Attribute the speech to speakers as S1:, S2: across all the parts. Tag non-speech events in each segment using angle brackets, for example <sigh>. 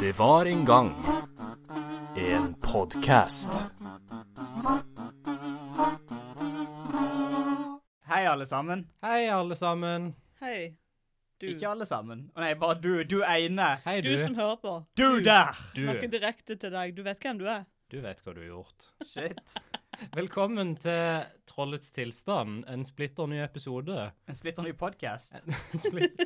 S1: Det var en gang en podkast.
S2: Hei, alle sammen.
S3: Hei, alle sammen.
S4: Hei. Du.
S2: Ikke alle sammen. Å nei, bare du. Du ene.
S3: Hei,
S4: du.
S3: du.
S4: som hører på.
S2: Du
S3: <laughs>
S2: der!
S3: Du,
S4: Snakker direkte til deg. Du vet hvem du er.
S3: du vet hva du har gjort.
S2: Shit.
S3: Velkommen til Trollets tilstand, en splitter ny episode. <laughs>
S2: En splitter ny podkast.
S3: En split-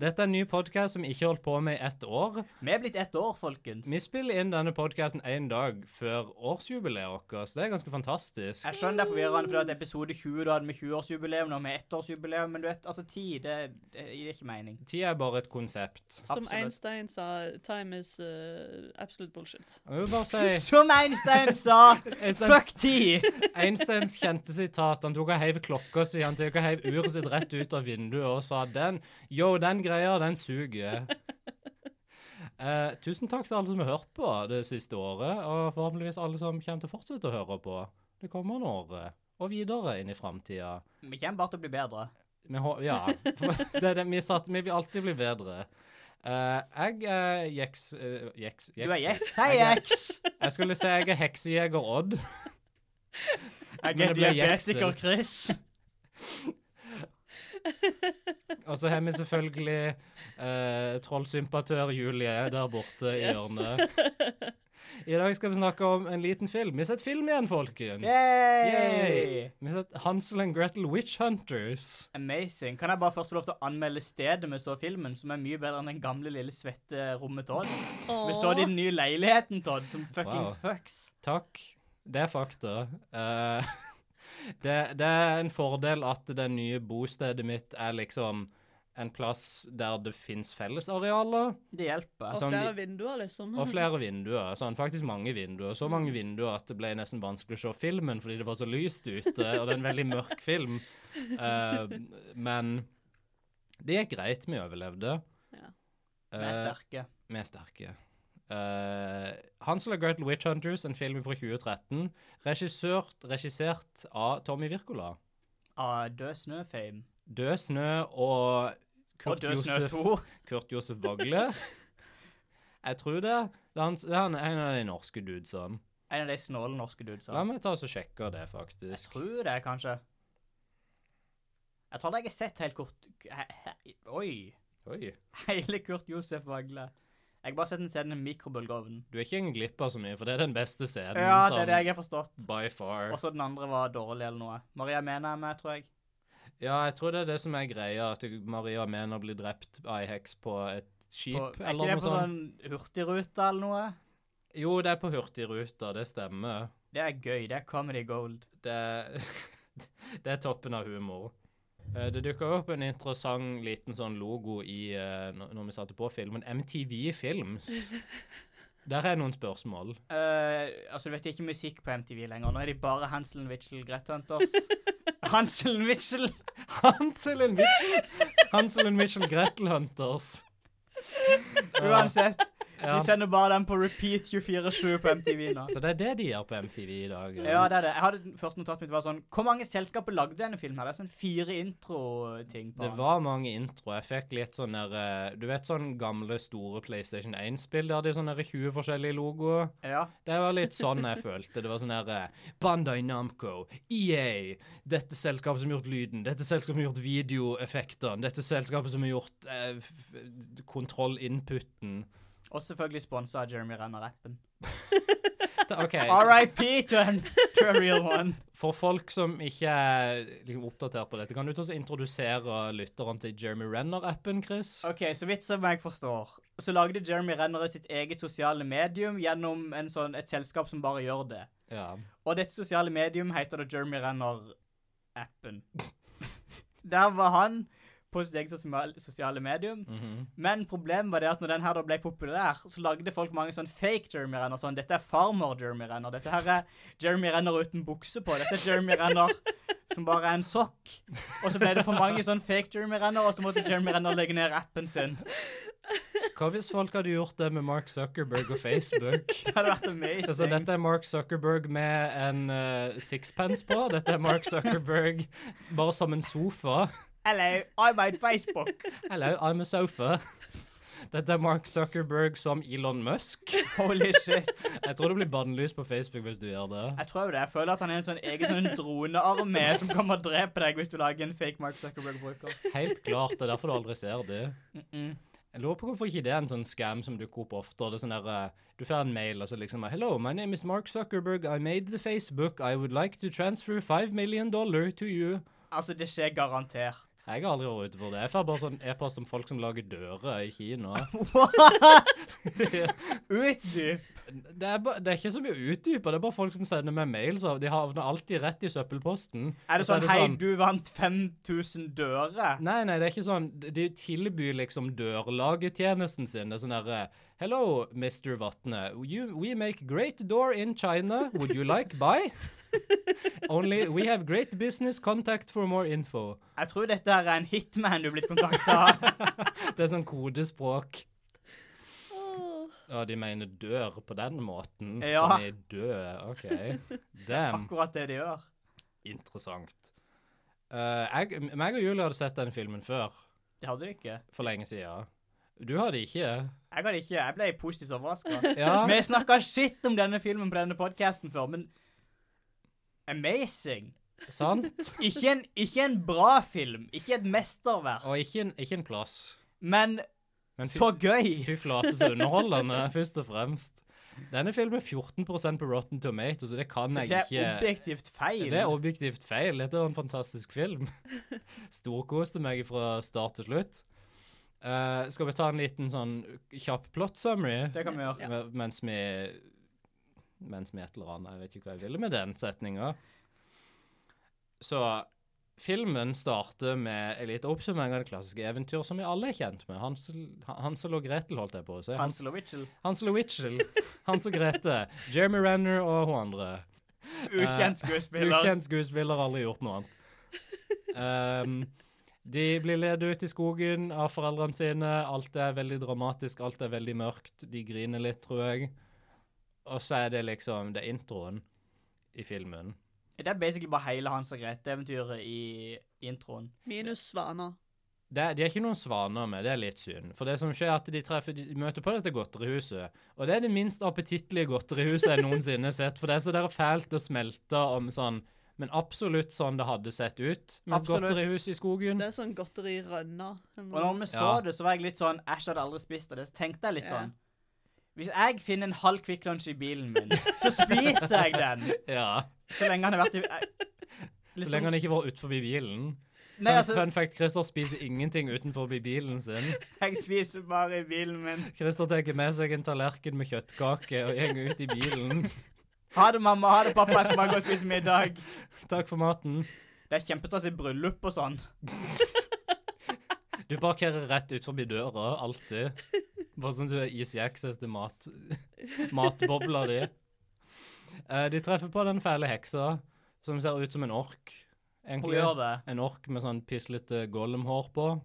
S3: Dette er en ny podkast som vi ikke har holdt på med i ett år.
S2: Vi er blitt ett år, folkens.
S3: Vi spiller inn denne podkasten én dag før årsjubileet vårt, så det er ganske fantastisk.
S2: Jeg skjønner det er forvirrende, for at episode 20 da hadde vi 20-årsjubileum, nå har vi ettårsjubileum, men du vet, altså ti, det, det gir ikke mening.
S3: Tida er bare et konsept.
S4: Som
S2: Absolutt.
S4: Einstein sa, time is uh, absolute bullshit.
S3: Jeg vil bare si
S2: Som Einstein
S3: <laughs>
S2: sa, fuck
S3: Einsteins,
S2: ti!
S3: Einsteins kjente sitat. Han tok og heiv klokka si, han tok og heiv uret sitt rett ut av vinduet og sa den Yo, den greia, den suger. Eh, tusen takk til alle som har hørt på det siste året, og forhåpentligvis alle som kommer til å fortsette å høre på det kommende året og videre inn i framtida.
S2: Vi kommer bare til å bli bedre.
S3: Vi hå- Ja. <laughs> Det er det vi satt Vi vil alltid bli bedre. Eh, jeg er jeks... eh, jeks,
S2: Du er
S3: jeks-
S2: jeks. Hei,
S3: Jeg er-
S2: jeks!
S3: Jeg skulle si jeg er heksejeger Odd.
S2: Jeg
S3: <laughs> Men
S2: er
S3: det ble jeksel.
S2: diabetiker, Chris.
S3: Og så har vi selvfølgelig eh, trollsympatør Julie der borte i
S4: Yes.
S3: hjørnet. I dag skal vi snakke om en liten film. Vi har sett film igjen, folkens.
S2: Yay!
S3: Yay! Vi har sett Hansel and Gretel Witch Hunters.
S2: Amazing. Kan jeg bare først få lov til å anmelde stedet vi så filmen, som er mye bedre enn den gamle, lille, svette rommet Todd? Vi så din nye leiligheten, Todd, som fuckings fucks.
S3: Takk. Det er fakta. Eh, <laughs> det, det er en fordel at det nye bostedet mitt er liksom en plass der det fins fellesarealer.
S2: Det hjelper.
S4: Og
S3: som
S4: flere
S3: vi-
S4: vinduer, liksom.
S3: Og flere vinduer. Sånn, faktisk mange vinduer. Så mange vinduer at det ble nesten vanskelig å se filmen fordi det var så lyst ute, og det er en veldig mørk film. Eh, men det gikk greit, vi overlevde.
S4: Ja.
S2: Vi er
S3: Eh,
S2: sterke.
S3: vi er sterke. Eh, Hansel og Gretel Witch Hunters, en film fra 2013, regissert, regissert av Tommy Wirkola.
S2: Ah, død snø-fame.
S3: Død snø og
S2: Og
S3: Kurt
S2: død snø
S3: Josef
S2: 2.
S3: Kurt Josef Vagle.
S2: <laughs>
S3: Jeg tror det. Det er han, det er han en av de norske dudesene.
S2: En av de snåle norske
S3: La
S2: dudesa.
S3: meg ta oss og sjekke det,
S2: Jeg
S3: faktisk.
S2: tror det, kanskje. Jeg tror jeg har sett helt kort he- he- Oi.
S3: Oi.
S2: Hele Kurt Josef Vagle. Jeg har bare sett den scenen i mikrobølgeovnen.
S3: Du er ikke en glipp av så mye, for det er den beste scenen.
S2: Ja, det
S3: sånn,
S2: er det jeg har forstått.
S3: By far.
S2: Også den andre var dårlig eller noe. Maria mener jeg med, tror jeg.
S3: Ja, jeg tror det er det som er greia, at Maria mener blir drept av ei heks på et skip,
S2: På, er ikke
S3: eller
S2: det
S3: noe
S2: på
S3: sånt.
S2: sånn hurtigrute eller noe?
S3: Jo, det er på Hurtigruta, det stemmer.
S2: Det er gøy. Det er comedy gold.
S3: Det, det er <laughs> toppen av humor. Eh, Det dukka opp en interessant liten sånn logo i, eh, når når vi satte på filmen, MTV
S2: <laughs>
S3: Films. Der er noen spørsmål.
S2: Eh, altså, du vet det er ikke musikk på MTV lenger. Nå er de bare Hansel Witchell Grete Hunters. Hansel Witchell!
S3: Hansel and Mitchell. Hansel and Mitchell Gretel Hunters. Ja,
S2: Uansett.
S3: ja.
S2: De sender bare den på repeat 24-7 på MTV nå.
S3: Så det er det de gjør på MTV i dag.
S2: Ja, det er det. Jeg hadde Første notatet mitt var sånn Hvor mange selskaper lagde denne filmen? her? Det er sånn fire intro-ting på
S3: Det
S2: den.
S3: var mange introer. Jeg fikk litt sånn der eh, Du vet sånn gamle, store PlayStation 1-spill der de sånne der 20 forskjellige logoer?
S2: Ja.
S3: Det var litt sånn jeg følte. Det var sånn der eh, Bandai Namco, EA, dette selskapet som har gjort lyden, dette selskapet som har gjort videoeffektene, dette selskapet som har gjort eh, f- f- kontroll-inputen.
S2: Og selvfølgelig sponsa av Jeremy Renner-appen.
S3: Ta- OK.
S2: RIP to
S3: <laughs>
S2: an to a real one.
S3: For folk som ikke er liksom, oppdatert på dette, kan du ta oss og introdusere lytteren til Jeremy Renner-appen, Chris?
S2: OK, så vidt som jeg forstår, så lagde Jeremy Renner sitt eget sosiale medium gjennom en sånn, et selskap som bare gjør det.
S3: Ja.
S2: Og dette sosiale medium heter da Jeremy Renner-appen. <laughs> Der var han på sitt eget sosial- sosiale medium.
S3: mhm.
S2: Men problemet var det at når den her da ble populær, så lagde folk mange sånn fake Jeremy Renner. Sånn, dette er farmor Jeremy Renner. Dette her er Jeremy Renner uten bukse på. Dette er Jeremy Renner som bare er en sokk. Og så ble det for mange sånn fake Jeremy Renner, og så måtte Jeremy Renner legge ned rappen sin.
S3: Hva hvis folk hadde gjort det med Mark Zuckerberg og Facebook?
S2: Det hadde vært
S3: altså,
S2: amazing.
S3: dette er Mark Zuckerberg med en eh, sixpence på. Dette er Mark Zuckerberg bare som en sofa.
S2: Hello, I'm on Facebook.
S3: Hello, I'm a sofa. Dette er Mark Zuckerberg som Elon Musk.
S2: Holy shit.
S3: Jeg tror du blir bannlyst på Facebook hvis du gjør det.
S2: Jeg tror jo det. Jeg føler at han er en sånn egen sånn dronearmé som kommer og dreper deg hvis du lager en fake Mark Zuckerberg-bruker.
S3: Helt klart. Det er derfor du aldri ser det.
S2: Mm -mm.
S3: Jeg lurer på hvorfor ikke det er en sånn scam som dukker opp ofte. Det er sånn der, eh, du får en mail og så liksom Hello, my name is Mark Zuckerberg. I made the Facebook. I would like to transfer five million dollar to you.
S2: Altså, det skjer garantert.
S3: Jeg har aldri vært ute for det. Jeg får bare sånn e-post om folk som lager dører i Kina.
S2: Utdyp!
S3: <laughs> Det er, ba, det er ikke så mye å utdype. Det er bare folk som sender meg mail, så de havner alltid rett i søppelposten.
S2: Er det
S3: Og så
S2: sånn 'hei, du vant 5000 dører'?
S3: Nei, nei, det er ikke sånn. De de tilbyr liksom dørlagetjenesten sin. Det er sånn derre Hello, Mr. Vatne. You, we make great door in China. Would you like buy? <laughs> Only we have great business contact for more info.
S2: Jeg tror dette her er en hitman du er blitt kontakta av. <laughs>
S3: Det er sånn
S4: <laughs>
S3: kodespråk.
S4: Åh.
S3: Ja, de mener dør på den måten.
S2: Ja.
S3: Som i død. OK. Damn.
S2: Akkurat det de gjør.
S3: Interessant. Eh, jeg, meg og Julie hadde sett den filmen før,
S2: Det hadde de ikke.
S3: for lenge siden. Du hadde ikke?
S2: Jeg hadde ikke, jeg ble positivt overraska.
S3: Ja.
S2: Vi snakka shit om denne filmen på denne podkasten før, men Amazing.
S3: Sant?
S2: Ikke en, ikke en bra film, ikke et mesterverk,
S3: Og ikke en, ikke en plass.
S2: men
S3: Men fy,
S2: så gøy.
S3: fy flate så underholdende, først og fremst. Denne filmen er 14 på Rotten Tomatoes, så det kan
S2: Det
S3: jeg
S2: er
S3: ikke
S2: objektivt feil.
S3: Det er objektivt feil. Dette er en fantastisk
S2: <laughs>
S3: film. Storkoste meg fra start til slutt. Eh, skal vi ta en liten sånn kjapp plot summary?
S2: Det kan vi gjøre.
S3: Me- Mens vi Mens vi et eller annet Jeg vet ikke hva jeg ville med den setninga. Så filmen starter med en liten oppsummering av det klassiske eventyr som vi alle er kjent med. Hansel, Hansel og Gretel, holdt jeg på å si. Hans,
S2: Hansel og Witchell.
S3: Hansel og Witchell. Hans og Grete. Jeremy Renner og hun andre.
S2: Ukjent skuespiller.
S3: Eh, Ukjent skuespiller, aldri gjort noe annet.
S2: <laughs>
S3: Ehm, de blir ledet ut i skogen av foreldrene sine. Alt er veldig dramatisk, alt er veldig mørkt. De griner litt, tror jeg. Og så er det liksom Det er introen i filmen.
S2: Det er basically bare hele Hans og Grete-eventyret i introen.
S4: Minus svaner.
S3: Det, er- de er ikke noen svaner med, det er litt synd. For det som skjer, er at de, treffer, de møter på dette godterihuset. Og det er det minst appetittlige godterihuset jeg noensinne har sett. For det er så der fælt og smelta om sånn Men absolutt sånn det hadde sett ut med et
S2: Absolutt.
S3: godterihus i skogen.
S4: Det er sånn godteri rønna. Sånn-
S2: Og når vi så
S3: Ja.
S2: det, så var jeg litt sånn Æsj, jeg hadde aldri spist av det. Så tenkte jeg litt
S4: Ja.
S2: sånn Hvis jeg finner en halv Kvikk Lunsj i bilen min, så spiser jeg den.
S3: Ja,
S2: Så lenge han har vært i jeg-
S3: så
S2: liksom-
S3: lenge han ikke var utenfor bilen.
S2: Nei,
S3: fun,
S2: altså,
S3: fun fact, Christer spiser ingenting utenfor bilen sin.
S2: jeg spiser bare i bilen min.
S3: Christer tar med seg en tallerken med kjøttkake og går ut i bilen.
S2: <laughs> Ha det, mamma. Ha det, pappa. Jeg skal bare gå og spise middag.
S3: Takk for maten.
S2: Det er kjempestress i bryllup og sånn.
S3: Du parkerer rett utenfor døra, alltid. Bare sånn at du har easy access til mat, <laughs> matbobla di. Eh, De treffer på den fæle heksa, som ser ut som en ork.
S2: Hun
S3: egentlig.
S2: gjør det.
S3: En ork med sånn pislete gollumhår på.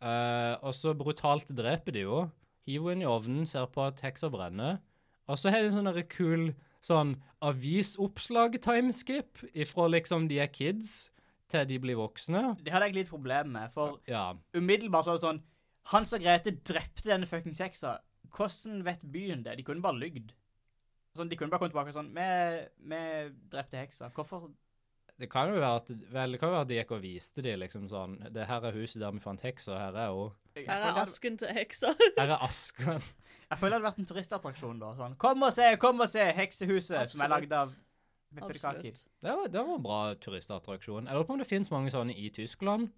S3: Eh, og så brutalt dreper de jo. Hiver henne i ovnen, ser på at heksa brenner. Og så har de en sånn derre kul sånn avisoppslag-timeskip ifra liksom de er kids til de blir voksne.
S2: Det hadde jeg litt problemer med, for
S3: Ja.
S2: umiddelbart så var det sånn Hans og Grete drepte denne fuckings heksa. Hvordan vet byen det? De kunne bare lygd. Sånn, de kunne bare kommet tilbake og sånn Vi, vi drepte heksa. Hvorfor
S3: Det kan jo være at, vel, det kan jo være at de gikk og viste de liksom sånn Det her er huset der vi fant heksa, her er hun.
S2: Jeg,
S4: Her
S2: føler
S4: er
S2: det-
S4: asken til
S2: <laughs>
S4: heksa.
S3: Her er asken. <laughs>
S2: jeg føler det hadde vært en turistattraksjon, da. Sånn Kom og se, kom og se! Heksehuset, som er lagd av pepperkaker.
S4: Absolutt.
S3: Det var, det var en bra turistattraksjon. Jeg lurer på om det finnes mange sånne i Tyskland.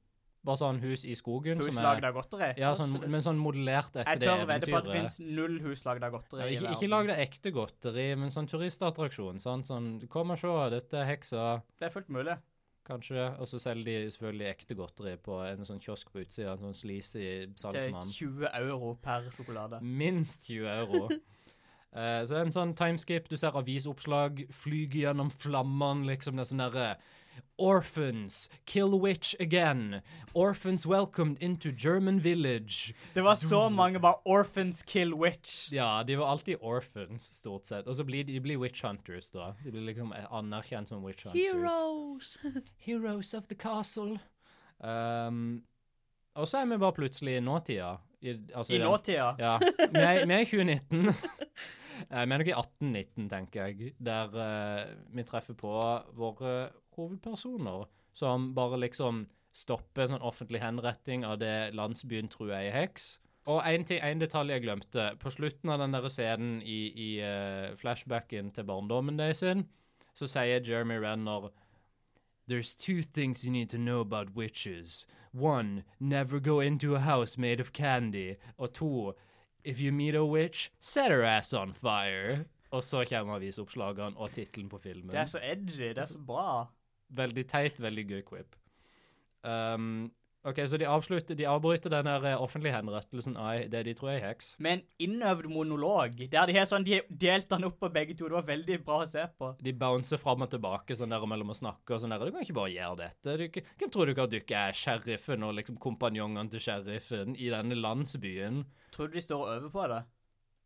S3: Bare sånn hus i skogen
S2: Hus
S3: som
S2: lagd
S3: er
S2: av godteri.
S3: ja, sånn,
S4: Absolutt.
S3: Men sånn modellert etter
S2: Jeg
S3: det
S2: tør vedde på at det
S3: eventyret.
S2: finnes null hus lagd av godteri.
S3: Ja,
S2: i
S3: ikke
S2: verden.
S3: ikke lag det ekte godteri, men sånn turistattraksjon. Sant? Sånn, kom og se, dette er heksa,
S2: Det er fullt mulig.
S3: kanskje. Og så selger de selvfølgelig ekte godteri på en sånn kiosk på utsida. En sånn sleazy
S2: Til
S3: salgmann.
S2: 20 euro per sjokolade.
S3: Minst 20
S2: <laughs>
S3: euro. Eh, så det er en sånn timeskip. Du ser avisoppslag flyge gjennom flammene, liksom. Det er sånn derre Orphans, kill witch again. Orphans welcomed into German village.
S2: Det var så mange bare Orphans kill witch.
S3: Ja, de var alltid orphans, stort sett. Og så blir de, de blir witch hunters, da. De blir liksom anerkjent som witch hunters.
S4: Heroes!
S3: Heroes of the castle. Um, og så er vi bare plutselig i nåtida. I, altså,
S2: I
S3: den-
S2: nåtida.
S3: Ja. Vi er vi er i <laughs> 2019. Nei, Vi er nok i 1819, tenker jeg, der eh, vi treffer på våre hovedpersoner som bare liksom stopper sånn offentlig henretting av det landsbyen tror er ei heks. Og en, ting, en detalj jeg glemte. På slutten av den der scenen i, i eh, flashbacken til barndommen deres, sin, så sier Jeremy Renner There's two things you need to know about witches. One, never go into a house made of candy. Og to, if you meet a witch, set her ass on fire. Og så kommer avisoppslagene og tittelen på filmen.
S2: Det er så edgy. Det er så bra.
S3: Veldig teit, veldig gøy quip. Um, ok, så de, avslutter, de avbryter den der eh, offentlige henrettelsen av ei- det de tror er ei heks.
S2: Med en innøvd monolog. Der de har sånn, de delte han opp på begge to. Det var veldig bra å se på.
S3: De bouncer fram og tilbake sånn der mellom å snakke og sånn der. Du kan ikke bare gjøre dette. Du, kan- hvem tror du ikke at du ikke er sheriffen og liksom kompanjongene til sheriffen i denne landsbyen?
S2: Tror du de står og øver på det?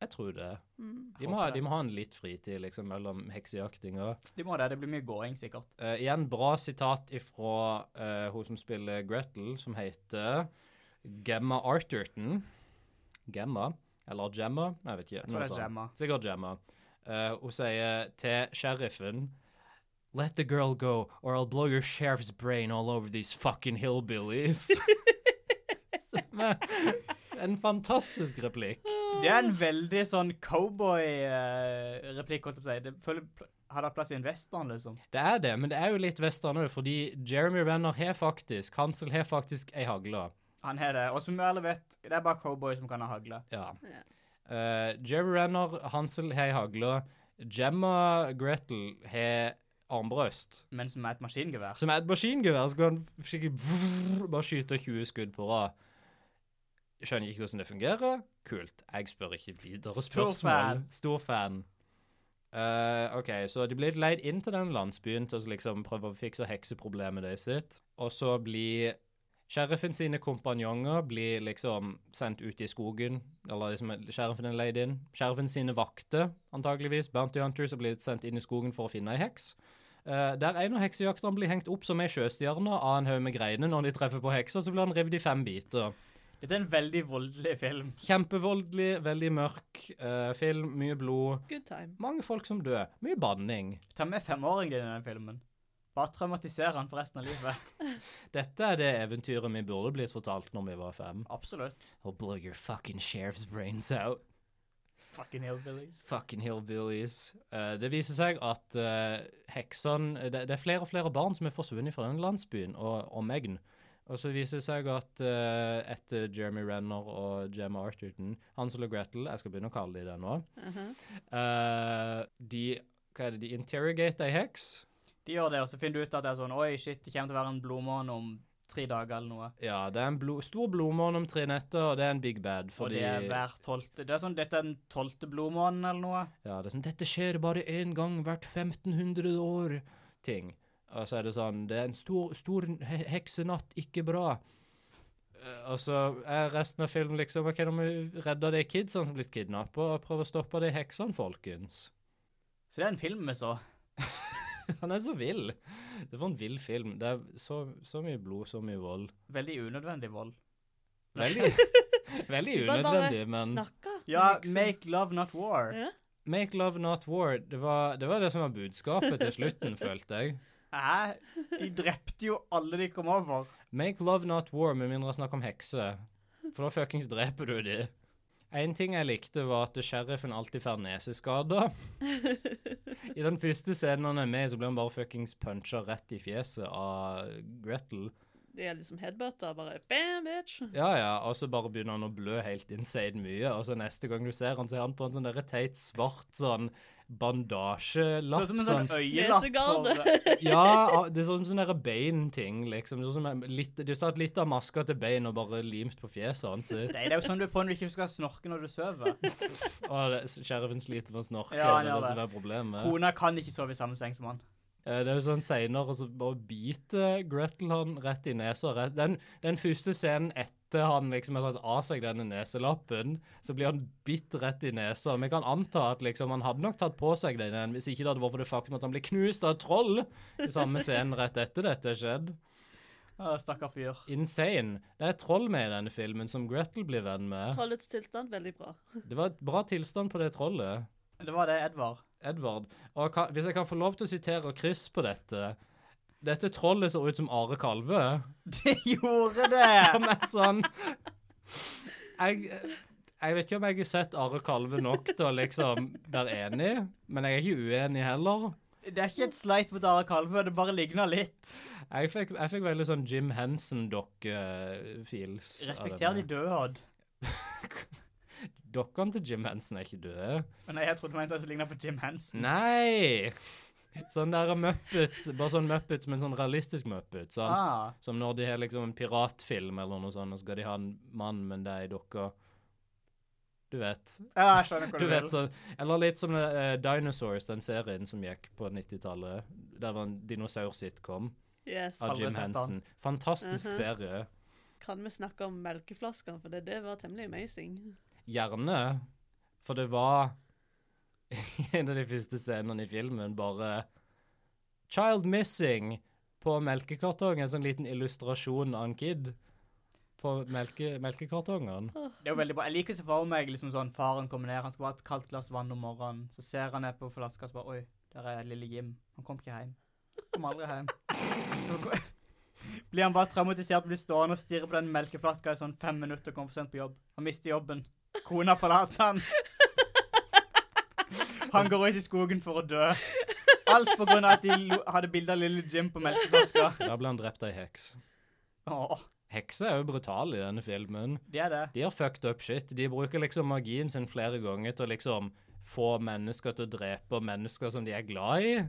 S3: Jeg tror det.
S4: Mm.
S3: De må,
S2: Håper
S3: ha,
S2: det.
S3: de må ha en litt fritid liksom, mellom heksejaktinga.
S2: De må det. Det blir mye gåing, sikkert.
S3: Eh, igjen bra sitat ifra eh, hun som spiller Gretel, som heter Gemma Arterton. Gemma, eller Gemma, jeg vet ikke.
S2: Jeg tror
S3: noe
S2: det er
S3: sånt.
S2: Gemma.
S3: Sikkert Gemma. Eh, hun sier til sheriffen Let the girl go, or I'll blow your sheriff's brain all over these fucking
S2: <laughs>
S3: hillbillies. Som er en fantastisk replikk.
S2: Det er en veldig sånn cowboy-replikk, holdt jeg på å si. Det føler pl- hadde hatt plass i en western, liksom.
S3: Det er det, men det er jo litt western òg, fordi Jeremy Renner har faktisk Hansel har faktisk ei hagle.
S2: Han har det. Og som vi alle vet, det er bare cowboy som kan ha hagle.
S3: Ja. Eh, Jeremy Renner, Hansel har ei hagle. Gemma Gretel har armbrøst,
S2: Men som er et maskingevær.
S3: som er et maskingevær. Så kan han skikkelig vrrr, bare skyte 20 skudd på rad. Skjønner ikke hvordan det fungerer. Kult. Jeg spør ikke videre
S2: Stor
S3: spørsmål.
S2: fan.
S3: Stor fan. Eh, OK, så de blir leid inn til den landsbyen til å liksom prøve å fikse hekseproblemet deres sitt. Og så blir sheriffen sine kompanjonger blir liksom sendt ut i skogen. Eller liksom sheriffen er leid inn. Sheriffen sine vakter, antageligvis, Bounty Hunters, er blitt sendt inn i skogen for å finne ei heks. Eh, der en av heksejakterne blir hengt opp som ei sjøstjerne av en haug med greiner. Når de treffer på heksa, så blir han revet i fem biter.
S2: Dette er en veldig voldelig film.
S3: Kjempevoldelig, veldig mørk eh, film, mye blod.
S4: Good time.
S3: Mange folk som dør. Mye banning.
S2: Ta med femåringen din i den filmen. Bare traumatiser han for resten av livet.
S3: Dette er det eventyret vi burde blitt fortalt når vi var fem.
S2: Absolutt.
S3: I'll blow your fucking sheriff's brains out.
S2: Fucking hillbillies.
S3: Fucking hillbillies. Eh, det viser seg at uh, heksene det, det er flere og flere barn som er forsvunnet fra den landsbyen og omegn. Og så viser det seg at eh, etter Jeremy Renner og Gemma Arterton Hansel og Gretel, jeg skal begynne å kalle de det nå
S4: Mhm.
S3: eh, De Hva er det? De interrogater ei heks.
S2: De gjør det, og så finner du ut at det er sånn Oi, shit, det kommer til å være en blodmåne om tre dager eller noe.
S3: Ja, det er en blo stor blodmåne om tre netter, og det er en big bad.
S2: Og
S3: Fordi,
S2: det er hver tolvte Det er sånn dette er den tolvte blodmånen eller noe.
S3: ja, det er sånn, Dette skjer bare én gang hvert 1500 år. Ting. Og så er det sånn Det er en stor, stor he heksenatt, ikke bra. Eh, Og så er resten av filmen liksom OK, nå må vi redde de kidsene som er blitt kidnappa, og prøve å stoppe de heksene, folkens. <laughs>
S2: Så det er en film vi så.
S3: Han er så vill. Det var en vill film. Det er så, så mye blod, så mye vold.
S2: Veldig unødvendig vold.
S3: Veldig, veldig
S4: Bare bare
S3: unødvendig, men
S4: snakka.
S2: Ja,
S4: liksom.
S2: make love, not war.
S4: Ja.
S3: Make love, not war. Det var det, var det som var budskapet til
S2: <laughs>
S3: slutten, følte jeg.
S2: Hæ? De drepte jo alle de kom over.
S3: Make love, not war, med mindre snakk om hekser. For da fuckings dreper du de. En ting jeg likte, var at sheriffen alltid får neseskada.
S2: <laughs>
S3: I den første scenen han er med, i, så blir han bare fuckings puncha rett i fjeset av Gretel.
S4: Det er liksom headbutter, bare bam, bitch.
S3: Ja, ja, og så bare begynner han å blø helt insane mye, og så neste gang du ser han, så er han på en sånn derre teit svart sånn bandasjelapp.
S2: Sånn som en sånn øyelapp.
S4: Nesegarde.
S2: for-
S3: Ja, det er sånn sånn der bein-ting, liksom. Det er sånn som en litt, du har tatt litt av maska til bein og bare limt på fjeset hans.
S2: Nei, det er jo sånn du er på når du ikke skal snorke når du sover.
S3: Og det- sheriffen sliter med å snorke,
S2: Ja, han
S3: det er
S2: gjør
S3: det som er problemet.
S2: Kona kan ikke sove i samme seng som han.
S3: Eh, Det er jo sånn senere, så bare biter Gretel han rett i nesa. Rett. Den, den første scenen etter han liksom har tatt av seg denne neselappen, så blir han bitt rett i nesa. Vi kan anta at liksom, han hadde nok tatt på seg den hvis ikke det hadde vært for det faktum at han ble knust av et troll i samme scenen rett etter dette skjedde.
S2: Å, Stakkar fyr.
S3: Insane. Det er et troll med i denne filmen som Gretel blir venn med.
S4: Trollets tilstand, veldig bra.
S3: Det var et bra tilstand på det trollet.
S2: Det var det Edvard. <laughs>
S3: Edvard. Og kan, hvis jeg kan få lov til å sitere Chris på dette Dette trollet ser ut som Are Kalve.
S2: Det gjorde det!
S3: Som er sånn jeg, jeg vet ikke om jeg har sett Are Kalve nok til å liksom være enig, men jeg er ikke uenig heller.
S2: Det er ikke et sleit mot Are Kalve, det bare ligner litt.
S3: Jeg fikk, jeg fikk veldig sånn Jim Henson-dokke-feels.
S2: Respekter de døde. Odd.
S3: Dokkene til Jim Henson er ikke døde.
S2: Å Nei, jeg trodde du mente at det lignet på Jim Henson.
S3: Nei! Sånn der Muppets, bare sånn Muppets, men sånn realistisk Muppets. Sant?
S2: Ah,
S3: Som når de har liksom en piratfilm eller noe sånt, og så skal de ha en mann, men det er ei dokke. Du vet.
S2: ja, jeg skjønner hva
S3: Du
S2: du,
S3: vet
S2: vil.
S3: sånn. Eller litt som eh, Dinosaurs, den serien som gikk på 90-tallet. Der var en dinosaur-sitcom
S4: Yes.
S3: av
S2: Aldri
S3: Jim
S2: sett den.
S3: Henson. Fantastisk
S4: Mhm.
S3: serie.
S4: Kan vi snakke om melkeflaskene, for det, det var temmelig amazing.
S3: Gjerne. For det var <laughs> en av de første scenene i filmen bare Child missing på melkekartongen. En sånn liten illustrasjon av en kid på melke, melkekartongen.
S2: Det er jo veldig bra. Jeg liker så for meg liksom sånn, faren kommer ned, han skal bare ha et kaldt glass vann om morgenen, så ser han ned på flaska, så bare, oi, der er lille Jim. Han kom ikke hjem. Han kom aldri hjem. <laughs> Så ko- blir han bare traumatisert, blir stående og stirre på den melkeflaska i sånn fem minutter og kommer for sent på jobb. Han mister jobben. Kona forlater han. Han går ut i skogen for å dø. Alt på grunn av at de lo- hadde bilde av lille Jim på melkeflaska.
S3: Da ble han drept av ei heks.
S2: Åh,
S3: Hekser er jo brutale i denne filmen.
S2: det er det.
S3: De har fucked up shit. De bruker liksom magien sin flere ganger til å liksom få mennesker til å drepe mennesker som de er glad i.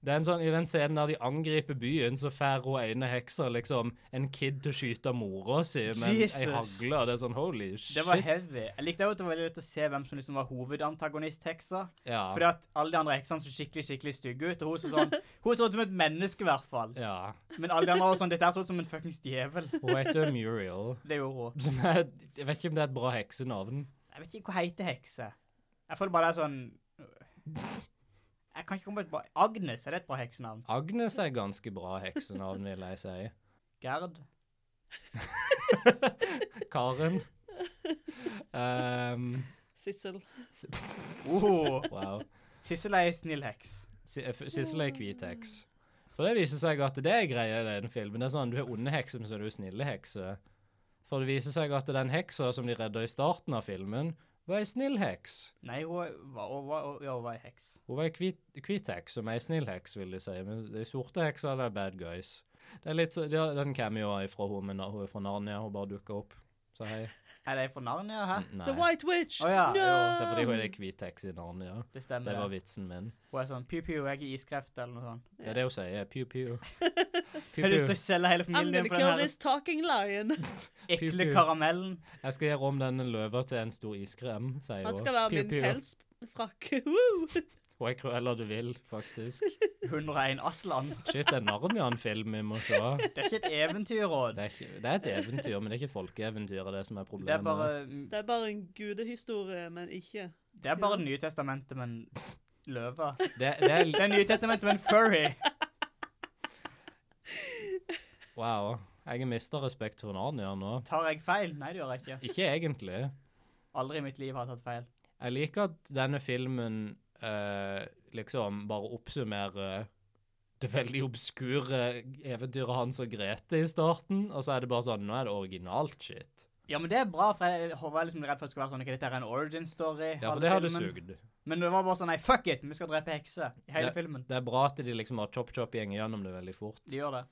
S3: Det er en sånn, I den scenen der de angriper byen, så får hun ene heksa liksom en kid til å skyte mora si med ei
S2: Jesus.
S3: hagle. og Det er sånn holy shit.
S2: Det var heavy. Jeg likte også at det var veldig lett å se hvem som liksom var hovedantagonist-heksa.
S3: ja.
S2: Fordi at alle de andre heksene så skikkelig skikkelig stygge ut. Og hun så
S3: <laughs>
S2: sånn Hun så ut som et menneske, i hvert fall.
S3: ja.
S2: Men alle de andre var sånn Dette her så ut som en fuckings djevel.
S3: Hun heter Muriel.
S2: Det gjorde hun.
S3: Som er, jeg vet ikke om det er et bra heksenavn.
S2: Jeg vet ikke hva heter hekse. Jeg føler bare det er sånn Jeg kan ikke komme på et bra Agnes, er det et bra heksenavn?
S3: Agnes er ganske bra heksenavn, vil jeg si.
S2: <laughs> Gerd?
S3: Karen. Um,
S4: Sissel.
S2: Oh,
S3: wow.
S2: Sissel er ei snill heks.
S3: Si- eh, f- Sissel er hvit heks. For det viser seg at det er greia i den filmen. Det er sånn, Du er onde hekser, men så er du snille hekser. For det viser seg at den heksa som de redda i starten av filmen, var ei snill heks.
S2: Nei, hun var, hun var, ja, hun var ei heks.
S3: Hun var ei hvit, hvit heks, som ei snill heks, vil de si. Men de sorte heksa, det er bad guys. Det er litt så, ja, Den cameoen er fra hun, men hun er fra Narnia. Hun bare dukker opp. Så hei.
S2: Er det ei fra Narnia? Hæ?
S4: The
S3: Nei.
S4: White Witch!
S2: Å ja,
S4: no!
S2: jo.
S3: Det er fordi hun er ei hvit heks i Narnia.
S2: Det stemmer.
S3: Det var
S2: det.
S3: vitsen min.
S2: Hun er sånn Piu-piu, jeg er iskreft, eller noe sånt.
S3: Det er det hun sier. Pew, pew.
S2: Jeg har lyst til å selge hele
S4: I'm
S2: familien din
S4: gonna
S2: for den
S4: kill
S2: her
S4: this talking
S3: <laughs>
S4: lion.
S2: ekle
S3: Piu-piu.
S2: karamellen.
S3: Jeg skal gjøre om denne løva til en stor iskrem, sier
S4: Han
S3: hun.
S4: skal være
S3: Pew,
S4: min
S3: pew.
S4: pelsfrakke. <laughs> Woo!
S3: Hun er krueller du vil, faktisk.
S2: 101 Aslan.
S3: Shit, det er Narnian-film vi må se. Det
S2: Det er ikke et eventyrråd.
S3: er, ikke, det er et eventyr, men det er ikke et folkeeventyr det er det som er
S2: Det er
S3: problemet.
S2: bare
S4: Det er bare en gudehistorie, men ikke
S2: Det er bare Det nye testamentet, men løva.
S3: Det, det
S2: Det
S3: er,
S2: er nye testamentet, men furry.
S3: wow. Jeg mister respekt for Narnia nå.
S2: Tar jeg feil? Nei, det gjør jeg ikke.
S3: Ikke egentlig.
S2: Aldri i mitt liv har jeg tatt feil.
S3: Jeg liker at denne filmen eh, liksom bare oppsummerer det veldig obskure eventyret Hans og Grete i starten, og så er det bare sånn Nå er det originalt shit.
S2: Ja, men det er bra, for jeg jeg var liksom redd for at det skulle være sånn ikke, dette er en origin story.
S3: Ja, for
S2: halve
S3: det hadde
S2: filmen.
S3: sugd.
S2: Men det var bare sånn nei, fuck it, vi skal drepe hekser i hele
S3: Det-
S2: filmen.
S3: Det er bra at de liksom har chop-chop gjengen gjennom det veldig fort.
S2: De gjør det.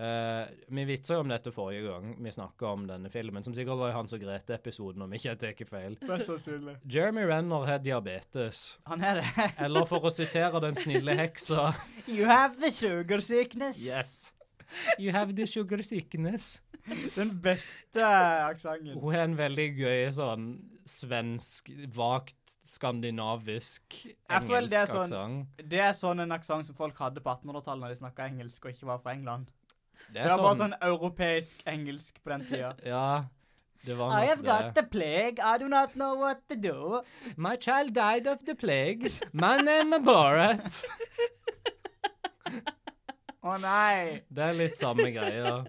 S3: Eh, vi vitsa jo om dette forrige gang vi snakka om denne filmen, som sikkert var i Hans og Grete-episoden, om ikke jeg tar feil.
S2: Mest sannsynlig.
S3: Jeremy Renner har diabetes.
S2: Han er det. <laughs>
S3: Eller for å sitere den snille heksa
S2: You have the sugar sickness.
S3: Yes. You have the sugar sickness.
S2: Den beste aksenten.
S3: Hun har en veldig gøy sånn svensk, vagt skandinavisk,
S2: Jeg føler
S3: engelsk
S2: det er sånn-
S3: aksent.
S2: Det er sånn en aksent som folk hadde på 1800-tallet når de snakka engelsk og ikke var fra England. Det
S3: Det er
S2: var bare
S3: sånn
S2: sånn europeisk engelsk på den tida.
S3: <laughs> Ja. Det var
S2: I have
S3: nok Sånn
S2: got
S3: det.
S2: the plague, I do not know what to do.
S3: My child died of the plague. My name is Borat.
S2: Å nei.
S3: Det er litt samme greia.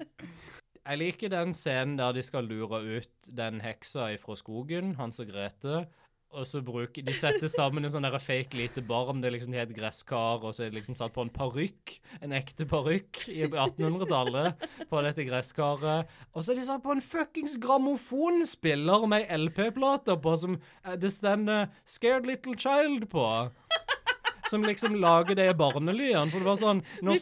S3: Jeg liker den scenen der de skal lure ut den heksa fra skogen, Hans og Grete. Og så bruker, De setter sammen en sånn der fake lite barm. Det er liksom helt gresskar, og så er det liksom satt på en parykk. En ekte parykk i 1800-tallet på dette gresskaret. Og så er de satt på en fuckings grammofonspiller med ei LP-plate på som eh, det stender 'Scared Little Child' på. Som liksom lager de barnelydene. For det var sånn når
S4: Mitt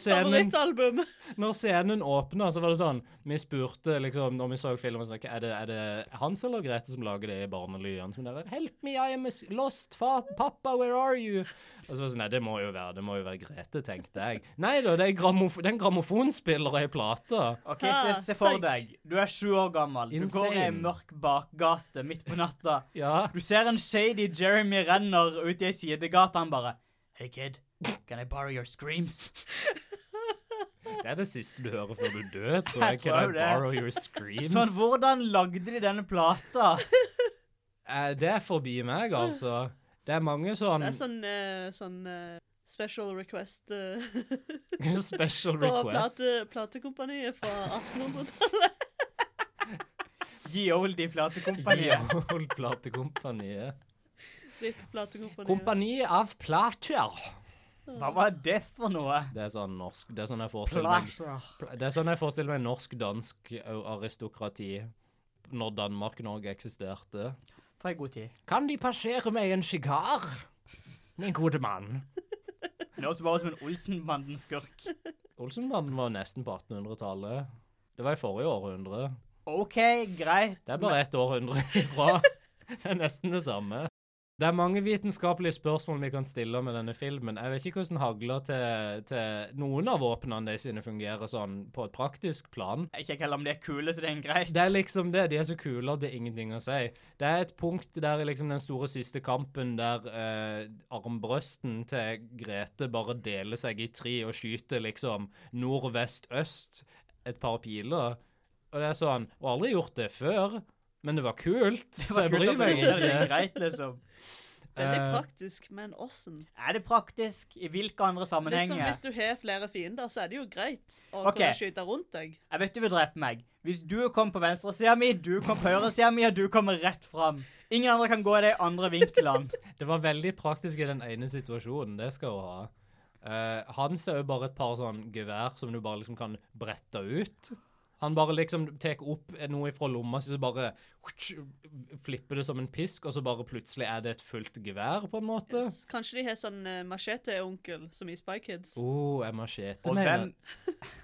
S2: <laughs>
S3: scenen
S4: favorittalbum.
S3: når scenen åpna, så var det sånn Vi spurte liksom når vi så filmen sånn, er, det, er det Hans eller Grete som lager det i barnelydene? Som der, Help me, I am s- lost, fa pappa, where are you? Og så var det sånn, Nei, det må jo være det må jo være Grete, tenkte jeg. Nei da, det er grammof den grammofonspiller og ei plate.
S2: OK,
S4: Ah,
S2: se, se for
S4: psych.
S2: deg. Du er sju år gammel. Du går i ei
S3: Insane.
S2: mørk bakgate midt på natta.
S3: Ja.
S2: Du ser en shady Jeremy renner ut i ei sidegate. Han bare Hey, kid. Can I borrow your screams?
S3: Det er det siste du hører før du dør, tror
S2: Jeg
S3: jeg. Can I
S2: tror det.
S3: borrow your screams?
S2: Sånn, hvordan lagde de denne plata?
S3: Eh, det er forbi meg, altså. Det er mange sånn
S4: Det er sånn, eh, sånn eh, special request
S3: <laughs>
S4: eh,
S2: sånn
S3: special
S4: på
S3: request.
S4: plate, platekompaniet fra 1800-tallet.
S2: Gi oldie
S3: <laughs>
S2: platekompaniet.
S3: Jål Platekompaniet.
S4: Litt <laughs> platekompaniet.
S3: Kompani av plater.
S2: Hva var det for noe?
S3: Det er sånn norsk Det er sånn jeg forestiller meg,
S2: Plasher.
S3: pla- det er sånn jeg forestiller meg norsk-dansk au- aristokrati når Danmark-Norge eksisterte.
S2: For ei god tid.
S3: Kan De passere meg en sigar, min gode mann?
S2: Det høres bare ut som en Olsenbanden-skurk.
S3: Olsenbanden var nesten på 1800-tallet. Det var i forrige århundre.
S2: OK, greit.
S3: Det er bare ett århundre <laughs> ifra. Det er nesten det samme. Det er mange vitenskapelige spørsmål vi kan stille med denne filmen. Jeg vet ikke hvordan hagler til, til noen av våpnene de sine fungerer sånn på et praktisk plan.
S2: Men Ikke heller om de er kule, så det er greit.
S3: Det er liksom det. De er så kule at det er ingenting å si. Det er et punkt der i liksom den store siste kampen der eh, armbrøsten til Grete bare deler seg i tre og skyter liksom nord, vest, øst et par piler. Og det er sånn Jeg har aldri gjort det før, men det var kult,
S2: <laughs> Det
S3: så
S2: var
S3: jeg
S2: kult
S3: bryr
S2: at du
S3: meg
S2: gjorde det, det er
S3: ikke.
S2: greit, liksom.
S4: Veldig
S3: Eh,
S4: praktisk, men åssen?
S2: Er det praktisk? I hvilke andre
S4: Liksom,
S2: sammenhenger?
S4: hvis du har flere fiender, så er det jo greit å
S2: Ok.
S4: kunne skyte rundt deg.
S2: Jeg vet du vil drepe meg. Hvis du kom på venstresida mi, du kom på høyresida mi, og du kommer rett fram. Ingen andre kan gå i de andre vinklene.
S3: <laughs> Det var veldig praktisk i den ene situasjonen, det skal hun ha. Eh, Hans er jo bare et par sånn gevær som du bare liksom kan brette ut. Han bare liksom tar opp noe fra lomma si, så bare hutsch, flipper det som en pisk, og så bare plutselig er det et fullt gevær, på en måte.
S4: Yes. Kanskje de har sånn uh, machete-onkel som i Spy Kids.
S3: Oh, er machete,
S2: Og
S3: mener
S2: den,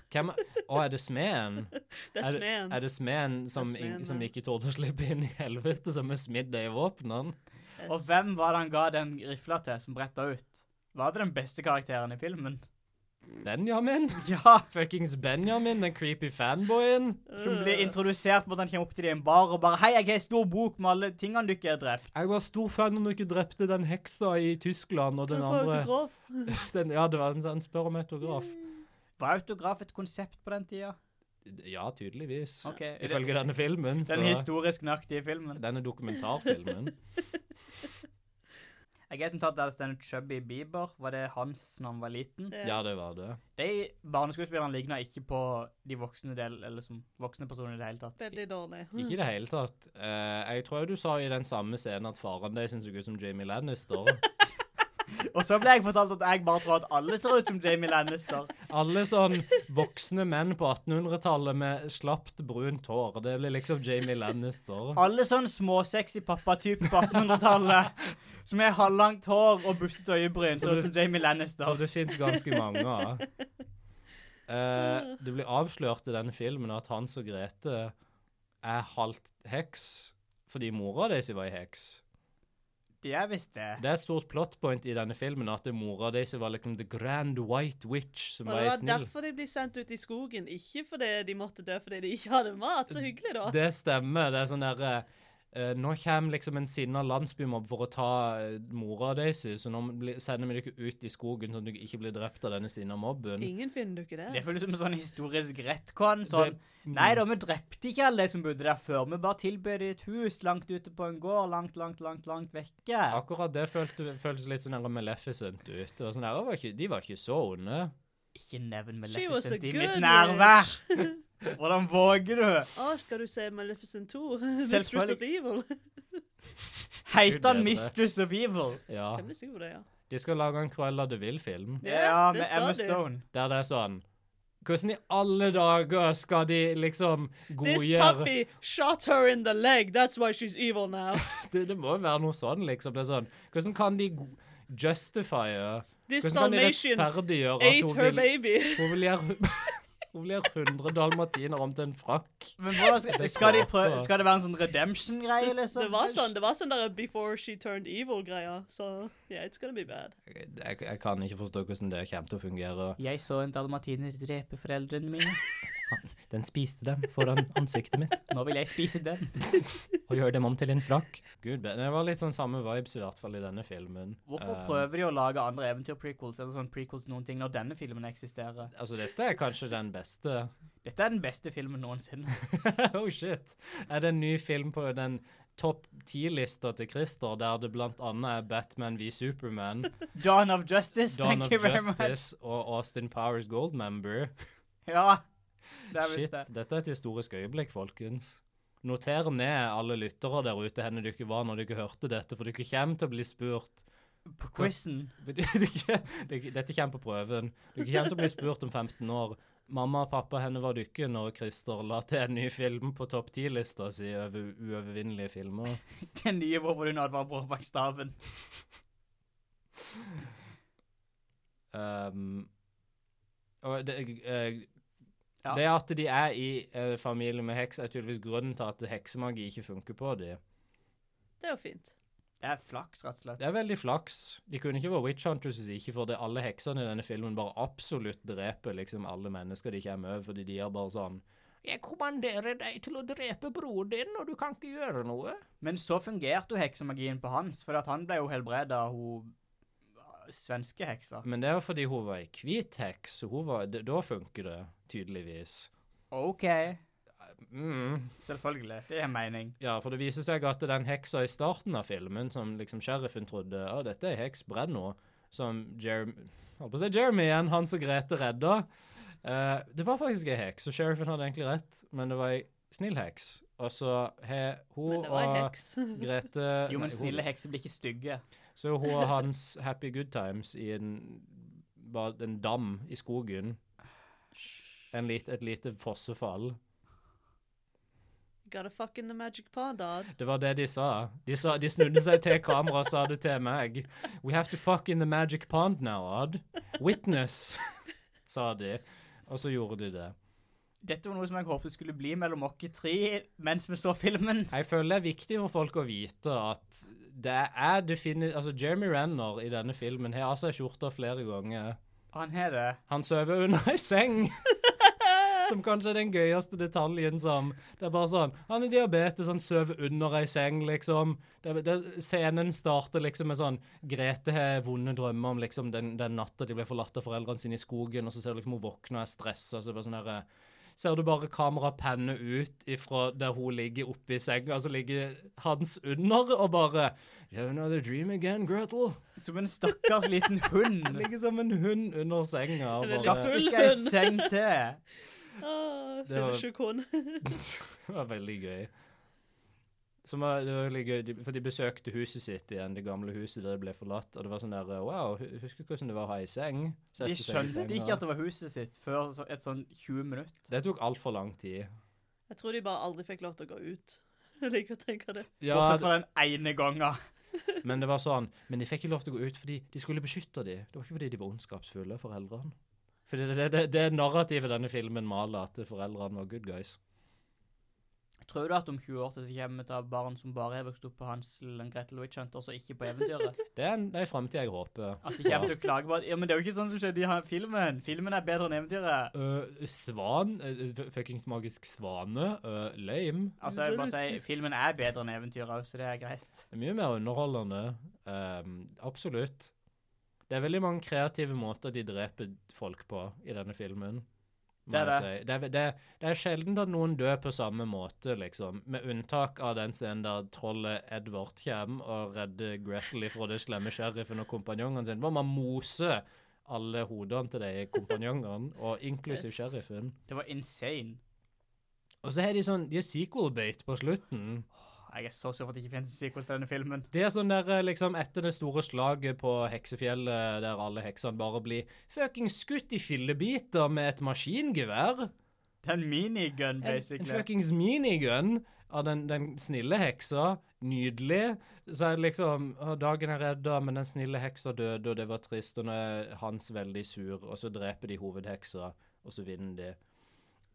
S3: Hvem er Å, er det smeden?
S4: <laughs> Det
S3: Er
S4: er
S3: det-
S4: smeden.
S3: Er det smeden som,
S4: Det er smeden,
S3: ing- som
S4: ja.
S3: ikke torde å slippe inn i helvete, som er smidd i våpnene?
S4: Yes.
S2: og hvem var det han ga den rifla til, som bretta ut? Var det den beste karakteren i filmen?
S4: <laughs>
S3: Benjamin?
S2: <laughs> Ja!
S3: Fuckings Benjamin, den creepy fanboyen?
S4: Øh,
S2: Som blir introdusert med at han kommer opp til deg i en bar og bare 'Hei, jeg har en stor bok med alle tingene dere har drept'.
S3: Jeg var stor fan når dere drepte den heksa i Tyskland og den <laughs> andre den, Ja, det var en sånn spør om autograf.
S2: Var autograf et konsept på den tida?
S3: Ja, tydeligvis.
S2: Ok, er det-
S3: Ifølge denne filmen, så
S2: Den historisk nøyaktige filmen.
S3: Denne dokumentarfilmen.
S2: Jeg har et notat der det står Chubby Bieber. Var det hans når han var liten?
S3: <laughs> Ja, det var det.
S2: De barneskuespillerne ligna ikke på de voksne del, eller som voksne personer i det hele tatt.
S4: Veldig dårlig.
S3: Ikke i det hele tatt. Eh, jeg tror du sa i den samme scenen at faren din syns så ut som Jamie Lannister.
S2: Og så ble jeg fortalt at jeg bare tror at alle ser ut som Jamie Lannister.
S3: <laughs> Alle sånn voksne menn på 1800-tallet med slapt, brunt hår. Det blir liksom Jamie Lannister.
S2: Alle sånn småsexy pappa-type på 1800-tallet som har halvlangt hår og bustete øyebryn, ser ut som Jamie
S3: Så
S2: Lannister.
S3: det fins ganske mange av. Eh, det blir avslørt i denne filmen at Hans og Grete er halvt heks fordi mora deres var ei heks.
S2: De er visst det.
S3: Det er et stort plot point i denne filmen at mora deres var liksom the grand white witch som
S4: Og
S3: var
S4: det
S3: ei
S4: var
S3: snill.
S4: derfor de ble sendt ut i skogen, ikke fordi de måtte dø fordi de ikke hadde mat. Så hyggelig, da.
S3: Det stemmer. Det er sånn derre eh, nå kommer liksom en sinna landsbymobb for å ta eh, mora deres, så nå bli- sender vi dere ut i skogen sånn at dere ikke blir drept av denne sinna mobben.
S4: Ingen finner du ikke
S2: Det
S4: det.
S2: føles som en sånn historisk retcon. Sånn Nei
S4: Mm.
S2: da, vi drepte ikke alle de som bodde der før. Vi bare tilbød dem et hus langt ute på en gård, langt, langt, langt langt vekke.
S3: Akkurat det følte, føltes litt sånn her Maleficent ut. Det var sånn her, «Å, var ikke, De var ikke så onde.
S2: Ikke nevn
S4: She was a
S2: Maleficent i
S4: good
S2: mitt nærvær.
S4: <laughs>
S2: Hvordan våger du?
S4: Å, skal du se Maleficent <laughs> 2? Mistress
S2: Selvfølgelig.
S4: of Evil?
S2: Heter han
S3: Gud bedre.
S2: Mistress of Evil?
S3: Ja.
S4: Jeg blir sikker på det, ja.
S3: De skal lage en Cruella de Vil-film
S4: Ja,
S2: Ja,
S4: det
S2: med
S4: skal
S2: Emma
S4: de.
S2: Stone.
S3: der det er sånn Hvordan i alle dager skal de liksom
S4: This
S3: godgjøre
S4: puppy shot her in the leg, that's why she's evil now.
S3: <laughs> det, det må jo være noe sånn, liksom. Det er sånn Hvordan kan de go- justifye
S4: This
S3: Hvordan kan de
S4: Dalmatian
S3: rettferdiggjøre at
S4: ate
S3: hun
S4: her
S3: vil,
S4: baby.
S3: hun vil gjøre <laughs> Hun vil gjøre 100 dalmatiner om til en frakk?
S4: <laughs>
S2: Men hvordan skal,
S3: Det
S2: skal, de
S3: klarte.
S2: prøve, skal det være en sånn redemption-greie, liksom?
S4: Det var sånn det var sånn der before she turned evil-greia. Så yeah, it's gonna be bad.
S3: Jeg, jeg kan ikke forstå hvordan det kommer til å fungere.
S2: Jeg så en dalmatiner drepe foreldrene mine.
S3: Den spiste dem foran ansiktet mitt
S2: Nå vil jeg spise
S4: <laughs>
S2: den.
S3: og gjør dem om til en frakk. Gud, det var litt sånn samme vibes i hvert fall i denne filmen.
S2: Hvorfor
S3: Eh,
S2: prøver de å lage andre eventyr-prequels eller sånn prequels noen ting når denne filmen eksisterer?
S3: Altså, dette er kanskje den beste. <laughs>
S2: Dette er den beste filmen noensinne.
S3: oh shit. Er det en ny film på den topp ti-lista til Christer, der det blant annet er Batman v Superman,
S2: Dawn of Justice,
S3: Dawn
S2: <laughs> thank
S3: of
S2: you very much.
S3: Justice og Austin Powers Goldmember?
S2: Ja, det er
S3: Shit,
S2: visst det.
S3: dette er et historisk øyeblikk, folkens. Noter ned alle lyttere der ute hvor dere var når dere hørte dette, for dere kommer til å bli spurt.
S2: På quizen.
S3: <laughs> Dere- dere- Dette kommer på prøven. Dere kommer til å bli spurt om 15 år. Mamma og pappa henne var dykke når Christer la til en ny film på topp 10-lista si over uovervinnelige filmer.
S2: Den nye hvor hvor hun advarer bror bak staven.
S3: Um, og det, eh,
S2: Ja.
S3: det at de er i eh, familie med heks, er tydeligvis grunnen til at heksemagi ikke funker på dem.
S4: Det er jo fint.
S2: Det er flaks, rett og slett.
S3: Det er veldig flaks. De kunne ikke vært witch hunters hvis ikke fordi alle heksene i denne filmen bare absolutt dreper liksom alle mennesker de kommer over, fordi de er bare sånn Jeg kommanderer deg til å drepe broren din, og du kan ikke gjøre noe.
S2: Men så fungerte jo heksemagien på hans, for at han ble jo helbreda av hun svenske heksa.
S3: Men det var fordi hun var ei hvit heks, så hun var, d- da funker det tydeligvis.
S2: OK,
S3: Mm.
S2: selvfølgelig. Det er mening.
S3: Ja, for det viser seg at den heksa i starten av filmen, som liksom sheriffen trodde Å, dette er heks, brenn nå. Som Jeremy Holdt på å si Jeremy igjen, han som Grete redda. Eh, det var faktisk ei heks, og sheriffen hadde egentlig rett, men det var ei snill heks. Og så har hun
S4: Men det var en <laughs>
S3: og
S4: heks.
S3: Grete
S2: <laughs> Jo, men
S3: nei,
S2: snille
S3: hun,
S2: hekser blir ikke stygge.
S3: Så er hun og hans happy good times i en, bare en dam i skogen. En lit, et lite fossefall.
S4: Gotta fuck in the magic pond, dog.
S3: Det var det de sa. De, sa, de snudde seg til kamera og sa det til meg. We have to fuck in the magic pond now, Odd. Witness, sa de. Og så gjorde de det.
S2: Dette var noe som jeg håpet skulle bli mellom oss tre mens vi så filmen.
S3: Jeg føler det er viktig for folk å vite at det er definitivt Altså, Jeremy Renner i denne filmen har av seg skjorta flere ganger.
S2: Han har det.
S3: Han sover under ei seng. Som kanskje er den gøyeste detaljen som Det er bare sånn Han er diabetes, han sover under ei seng, liksom. Det, er- det, er- scenen starter liksom med sånn Grete har vonde drømmer om liksom den, den natta de ble forlatt av foreldrene sine i skogen, og så ser du liksom hun våkner og er stressa, så er det bare sånn herre Ser du bare kameraet penne ut ifra der hun ligger oppe i senga, så ligger Hans under og bare You know the dream again, Gretel.
S2: Som en stakkars liten hund.
S3: <laughs> Ligger som en hund under senga. og
S4: Eller
S3: bare-
S2: Skaff ikke ei
S4: Full
S2: seng til.
S3: <laughs>
S4: Ah,
S3: Det var-
S4: Fyllesyk hund. <laughs>
S3: Det var veldig gøy. Som var, det var veldig gøy, de, for de besøkte huset sitt igjen, det gamle huset der det ble forlatt, og det var sånn der Wow, hu- husker du hvordan det var å ha ei seng? Sette
S2: De
S3: seg i
S2: skjønte
S3: senga.
S2: ikke at det var huset sitt før så- et sånn 20 minutt.
S3: Det tok altfor lang tid.
S4: Jeg tror de bare aldri fikk lov til å gå ut. <laughs> Jeg liker å tenke det.
S3: Ja,
S2: Bortsett fra den ene gangen.
S3: men det var sånn Men de fikk ikke lov til å gå ut fordi de skulle beskytte de. Det var ikke fordi de var ondskapsfulle, foreldrene. For det, det, det, det narrativet denne filmen maler, at foreldrene var good guys.
S2: Tror du at om 20 år til så kommer vi til å ha barn som bare har vokst opp på Hansel og Gretel Witch Hunter, så ikke på eventyret?
S3: Det er en, det er en framtid jeg håper.
S2: At de kommer til å klage på at Ja, men det er jo ikke sånn som skjedde i han- filmen. Filmen er bedre enn eventyret.
S3: Øh, svan? Uh, Fuckings magisk svane? Øh, lame?
S2: Altså, jeg vil bare si, filmen er bedre enn eventyret òg, så det er greit.
S3: Det er mye mer underholdende. ehm, absolutt. Det er veldig mange kreative måter de dreper folk på i denne filmen. må
S2: Det er
S3: jeg Si. Det, er, det, det er sjelden at noen dør på samme måte, liksom. Med unntak av den scenen der trollet Edvard kommer og redder Gretel fra den slemme sheriffen og kompanjongene sine. Bare man moser alle hodene til de kompanjongene, og inklusiv
S4: Yes.
S3: sheriffen.
S2: Det var insane.
S3: Og så har de sånn De har sequel-bait på slutten.
S2: Jeg er så sur for at det ikke finnes en sequel til denne filmen.
S3: Det er sånn der eh, liksom etter det store slaget på heksefjellet, eh, der alle heksene bare blir fucking skutt i fillebiter med et maskingevær.
S2: Det er en minigun,
S3: En, en
S2: basically.
S3: fuckings minigun av den, den snille heksa. Nydelig. Så er det liksom «Å, Dagen er redda, men den snille heksa døde, og det var trist. Og nå er Hans veldig sur, og så dreper de hovedheksa, og så vinner de.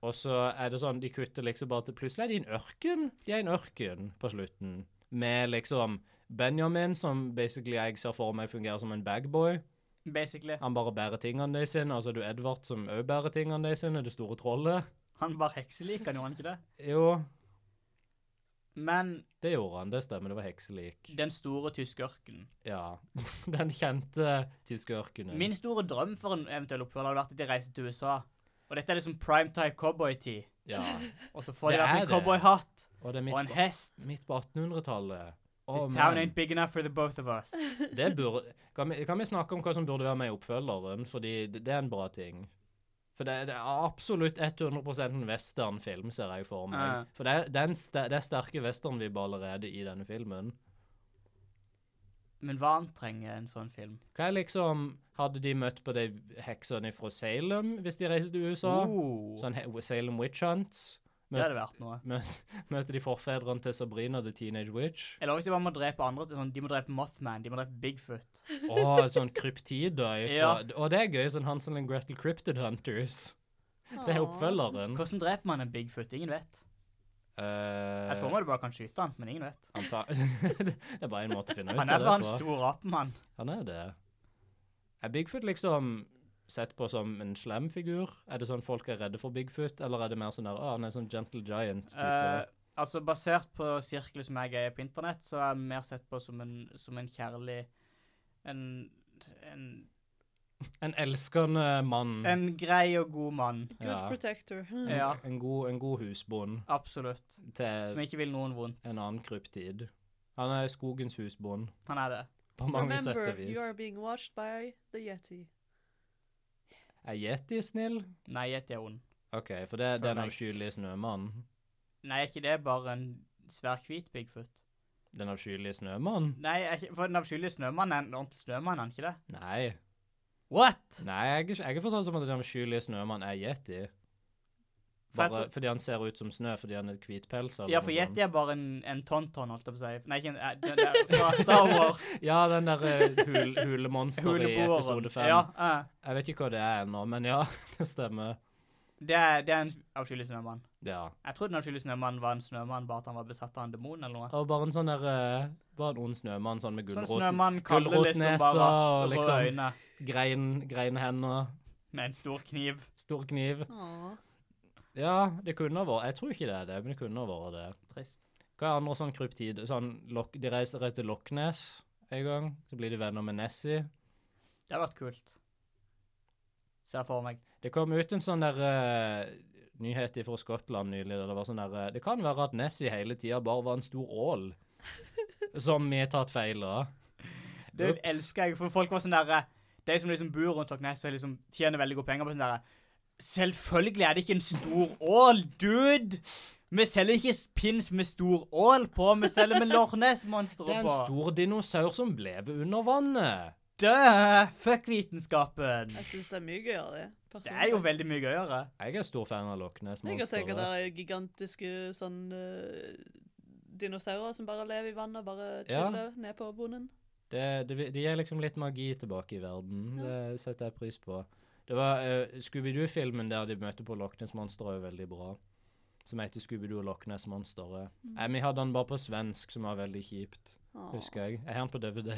S3: Og så er det sånn, de kutter liksom bare til plutselig er de i en ørken. De er i en ørken på slutten. Med liksom Benjamin, som basically jeg ser for meg fungerer som en bagboy.
S2: Basically.
S3: Han bare bærer tingene de sine. Og så er det Edvard, som òg bærer tingene de sine. Det store trollet.
S2: Han var hekselik, han gjorde han ikke det?
S3: Jo,
S2: Men
S3: Det gjorde han, det stemmer. Det var hekselik.
S2: den store tyske ørkenen
S3: Ja. <laughs> Den kjente tyske ørkenen.
S2: Min store drøm for en eventuell oppfølger hadde vært at de reiser til USA. Og dette er liksom primetime cowboy-tid.
S3: Ja.
S2: Og så får de
S3: Det
S2: hver
S3: er
S2: sin
S3: det.
S2: cowboyhatt
S3: Og det er
S2: og en
S3: midt,
S2: hest.
S3: på- midt på 1800-tallet. Å,
S2: This town
S3: men,
S2: ain't big enough for the both of us.
S3: <laughs> det burde, kan, vi, kan vi snakke om hva som burde være med i oppfølgeren? Fordi det, det er en bra ting. For det, det er absolutt 100 en westernfilm, ser jeg for meg.
S2: Ja.
S3: For det, er- det, er en ste- det er sterke westernvibber allerede i denne filmen.
S2: Men hva annet trenger en sånn film?
S3: Hva er liksom Hadde de møtt på de heksene fra Salem hvis de reiste til USA?
S2: Oh,
S3: Sånn he- Salem Witch Hunts?
S2: det hadde vært noe.
S3: Mø- Møter de forfedrene til Sabrina the Teenage
S2: <laughs>
S3: Witch?
S2: Eller hvis de bare må drepe andre. til Sånn, de må drepe Mothman, de må drepe Bigfoot.
S3: Å, sånn kryptider ifra
S2: Ja.
S3: Og det er gøy, sånn Hansel and Gretel Cryptid Hunters. Det er
S4: Åh.
S3: oppfølgeren.
S2: Hvordan dreper man en Bigfoot? Ingen vet. Jeg tror
S3: Uh,
S2: man bare kan skyte han, men ingen vet.
S3: anta <laughs> det er bare en måte å finne ut
S2: Han
S3: av
S2: er
S3: det
S2: bare en
S3: på.
S2: stor apemann.
S3: Han er det. Er Bigfoot liksom sett på som en slem figur? Er det sånn folk er redde for Bigfoot, eller er det mer sånn der, ah, han er en sånn gentle
S2: Eh,
S3: giant-type?
S2: altså Basert på sirkelen som jeg er på internett, så er jeg mer sett på som en, som en kjærlig en, en,
S3: en elskende mann.
S2: en grei og god mann.
S4: Good
S3: Ja.
S4: protector. <laughs>
S3: En,
S2: Ja.
S3: en, god, en god husbond
S2: Absolutt.
S3: til
S2: Som ikke vil noen vondt.
S3: en annen kryptid. Han er skogens husbond,
S2: Han er det.
S3: på mange sett
S4: Remember,
S3: og vis.
S4: you are being watched by the yeti.
S3: Er Yeti snill?
S2: Nei, Yeti er ond.
S3: OK, for det er
S2: For
S3: den
S2: meg.
S3: avskyelige snømannen.
S2: Nei, er ikke det bare en svær hvit Bigfoot?
S3: Den avskyelige snømannen?
S2: Nei, er ikke, for den avskyelige snømannen er en ordentlig snømann, er han ikke det?
S3: Nei.
S2: What?!
S3: Nei, jeg er, ikke- jeg er forstått som at den avskyelige snømannen er yeti.
S2: For jeg
S3: Bare sånn.
S2: tror-
S3: fordi han ser ut som snø, fordi han er et hvitpels eller
S2: Ja, for
S3: noe sånt.
S2: Yeti er bare en, en tonton, holdt jeg på å si. Nei, ikke en eh, den der, Fra
S3: <laughs>
S2: Star Wars.
S3: Ja, den der eh, hul, hulemonsteret i
S2: Huleboeren.
S3: episode 5.
S2: Ja, eh.
S3: Jeg vet ikke hva det er ennå, men ja, <laughs> det stemmer.
S2: det, er, det er en avskyelig snømann.
S3: Ja.
S2: Jeg trodde den avskyelige snømannen var en snømann, bare at han var besatt av en demon eller noe.
S3: Og bare en sånn der eh, Bare en ond snømann sånn med
S2: Sånn
S3: gulrot,
S2: snømann kaller liksom
S3: gulrotnesa
S2: bare
S3: og
S2: at røde
S3: liksom-
S2: øyne
S3: grein, greinhender,
S2: med en stor kniv.
S3: stor kniv.
S4: Åh.
S3: Ja, det kunne ha vært Jeg tror ikke det er det, men det kunne ha vært det.
S2: Trist.
S3: Hva er andre sånn kryptid? Sånn, Loch- de reiser, reiser til Loch Ness en gang, så blir de venner med Nessie.
S2: Det hadde vært kult. Ser jeg for meg.
S3: Det kom ut en sånn der eh, nyhet fra Skottland nylig, der det var sånn der eh, Det kan være at Nessie hele tida bare var en stor ål,
S4: <laughs>
S3: som vi har tatt feil av.
S2: Det
S3: Ups.
S2: elsker jeg, for folk var sånn derre De som liksom bor rundt Loch Ness og liksom tjener veldig gode penger på sånn derre Selvfølgelig er det ikke en stor ål, dude! Vi selger ikke pins med stor ål på, vi selger med Loch Ness-monstre
S3: Det er en
S2: på.
S3: stor dinosaur som lever under vannet.
S2: Dø! Fuck vitenskapen.
S4: Jeg syns det er mye gøyere, det.
S2: Det er jo veldig mye gøyere.
S3: Jeg er stor fan av Loch
S4: Jeg kan tenke at det
S3: Ness-monsteret.
S4: er gigantiske sånn eh, dinosaurer som bare lever i vannet og bare
S3: Ja.
S4: chiller ned på bonden.
S3: Det, det, det gir liksom litt magi tilbake i verden. Det setter jeg pris på. Det var eh, Scooby-Doo-filmen der de møter på Loch Ness-monsteret, er veldig bra. Som heter Scooby-Doo og Loch Ness-monsteret.
S4: Mm.
S3: Eh, Vi hadde den bare på svensk, som var veldig kjipt,
S4: Åh.
S3: husker jeg. Jeg har den på DVD.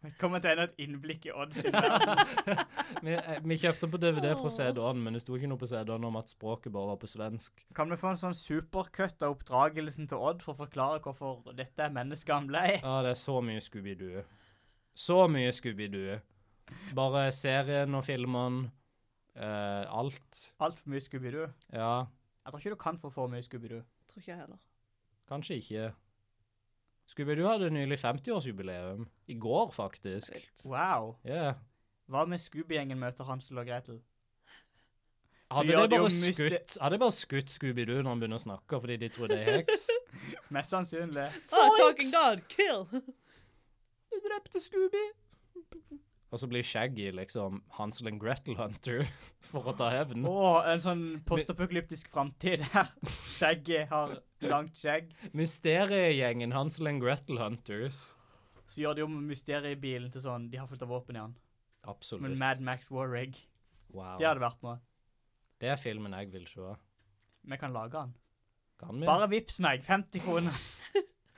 S2: Velkommen til enda et innblikk i Odd sin verden.
S3: <laughs> vi, eh, vi kjøpte den på DVD fra
S4: Åh.
S3: CD-en, men det sto ikke noe på CD-en om at språket bare var på svensk.
S2: Kan vi få en sånn supercut av oppdragelsen til Odd for å forklare hvorfor dette er mennesket han ble?
S3: Ja, det er så mye Scooby-Doo. Så mye Scooby-Doo. Bare serien og filmene. eh, alt.
S2: Altfor mye Scooby-Doo.
S3: Ja,
S2: Jeg tror ikke du kan få for mye Scooby-Doo.
S4: Tror ikke jeg heller.
S3: Kanskje ikke. Scooby-Doo hadde nylig 50-årsjubileum. I går,
S4: Det
S3: faktisk.
S4: er vilt.
S2: Wow.
S3: Ja.
S2: Hva med Scooby-gjengen møter Hansel og Gretel?
S3: Hadde
S2: gjør
S3: de
S2: det jo
S3: bare
S2: mysti-
S3: skutt, hadde de bare skutt Scooby-Doo når han begynner å snakke fordi de tror det er
S2: <laughs>
S3: heks?
S2: Mest sannsynlig.
S4: Oh, talking God, kill!
S3: Du drepte Scooby! Og så blir Shaggy liksom Hansel and Gretel Hunter <laughs> for å ta hevn.
S2: Å, en sånn postapokalyptisk framtid her. Skjegget har langt skjegg.
S3: Mysteriegjengen Hansel and Gretel Hunters.
S2: Så gjør de om mysteriebilen til sånn De har fullt av våpen i den. Som en
S3: Absolutt.
S2: Mad Max War Rig.
S3: Wow.
S2: Det hadde vært noe.
S3: Det er filmen jeg vil se.
S2: Vi kan lage den.
S3: Kan vi?
S2: Bare vips meg. 50 kroner.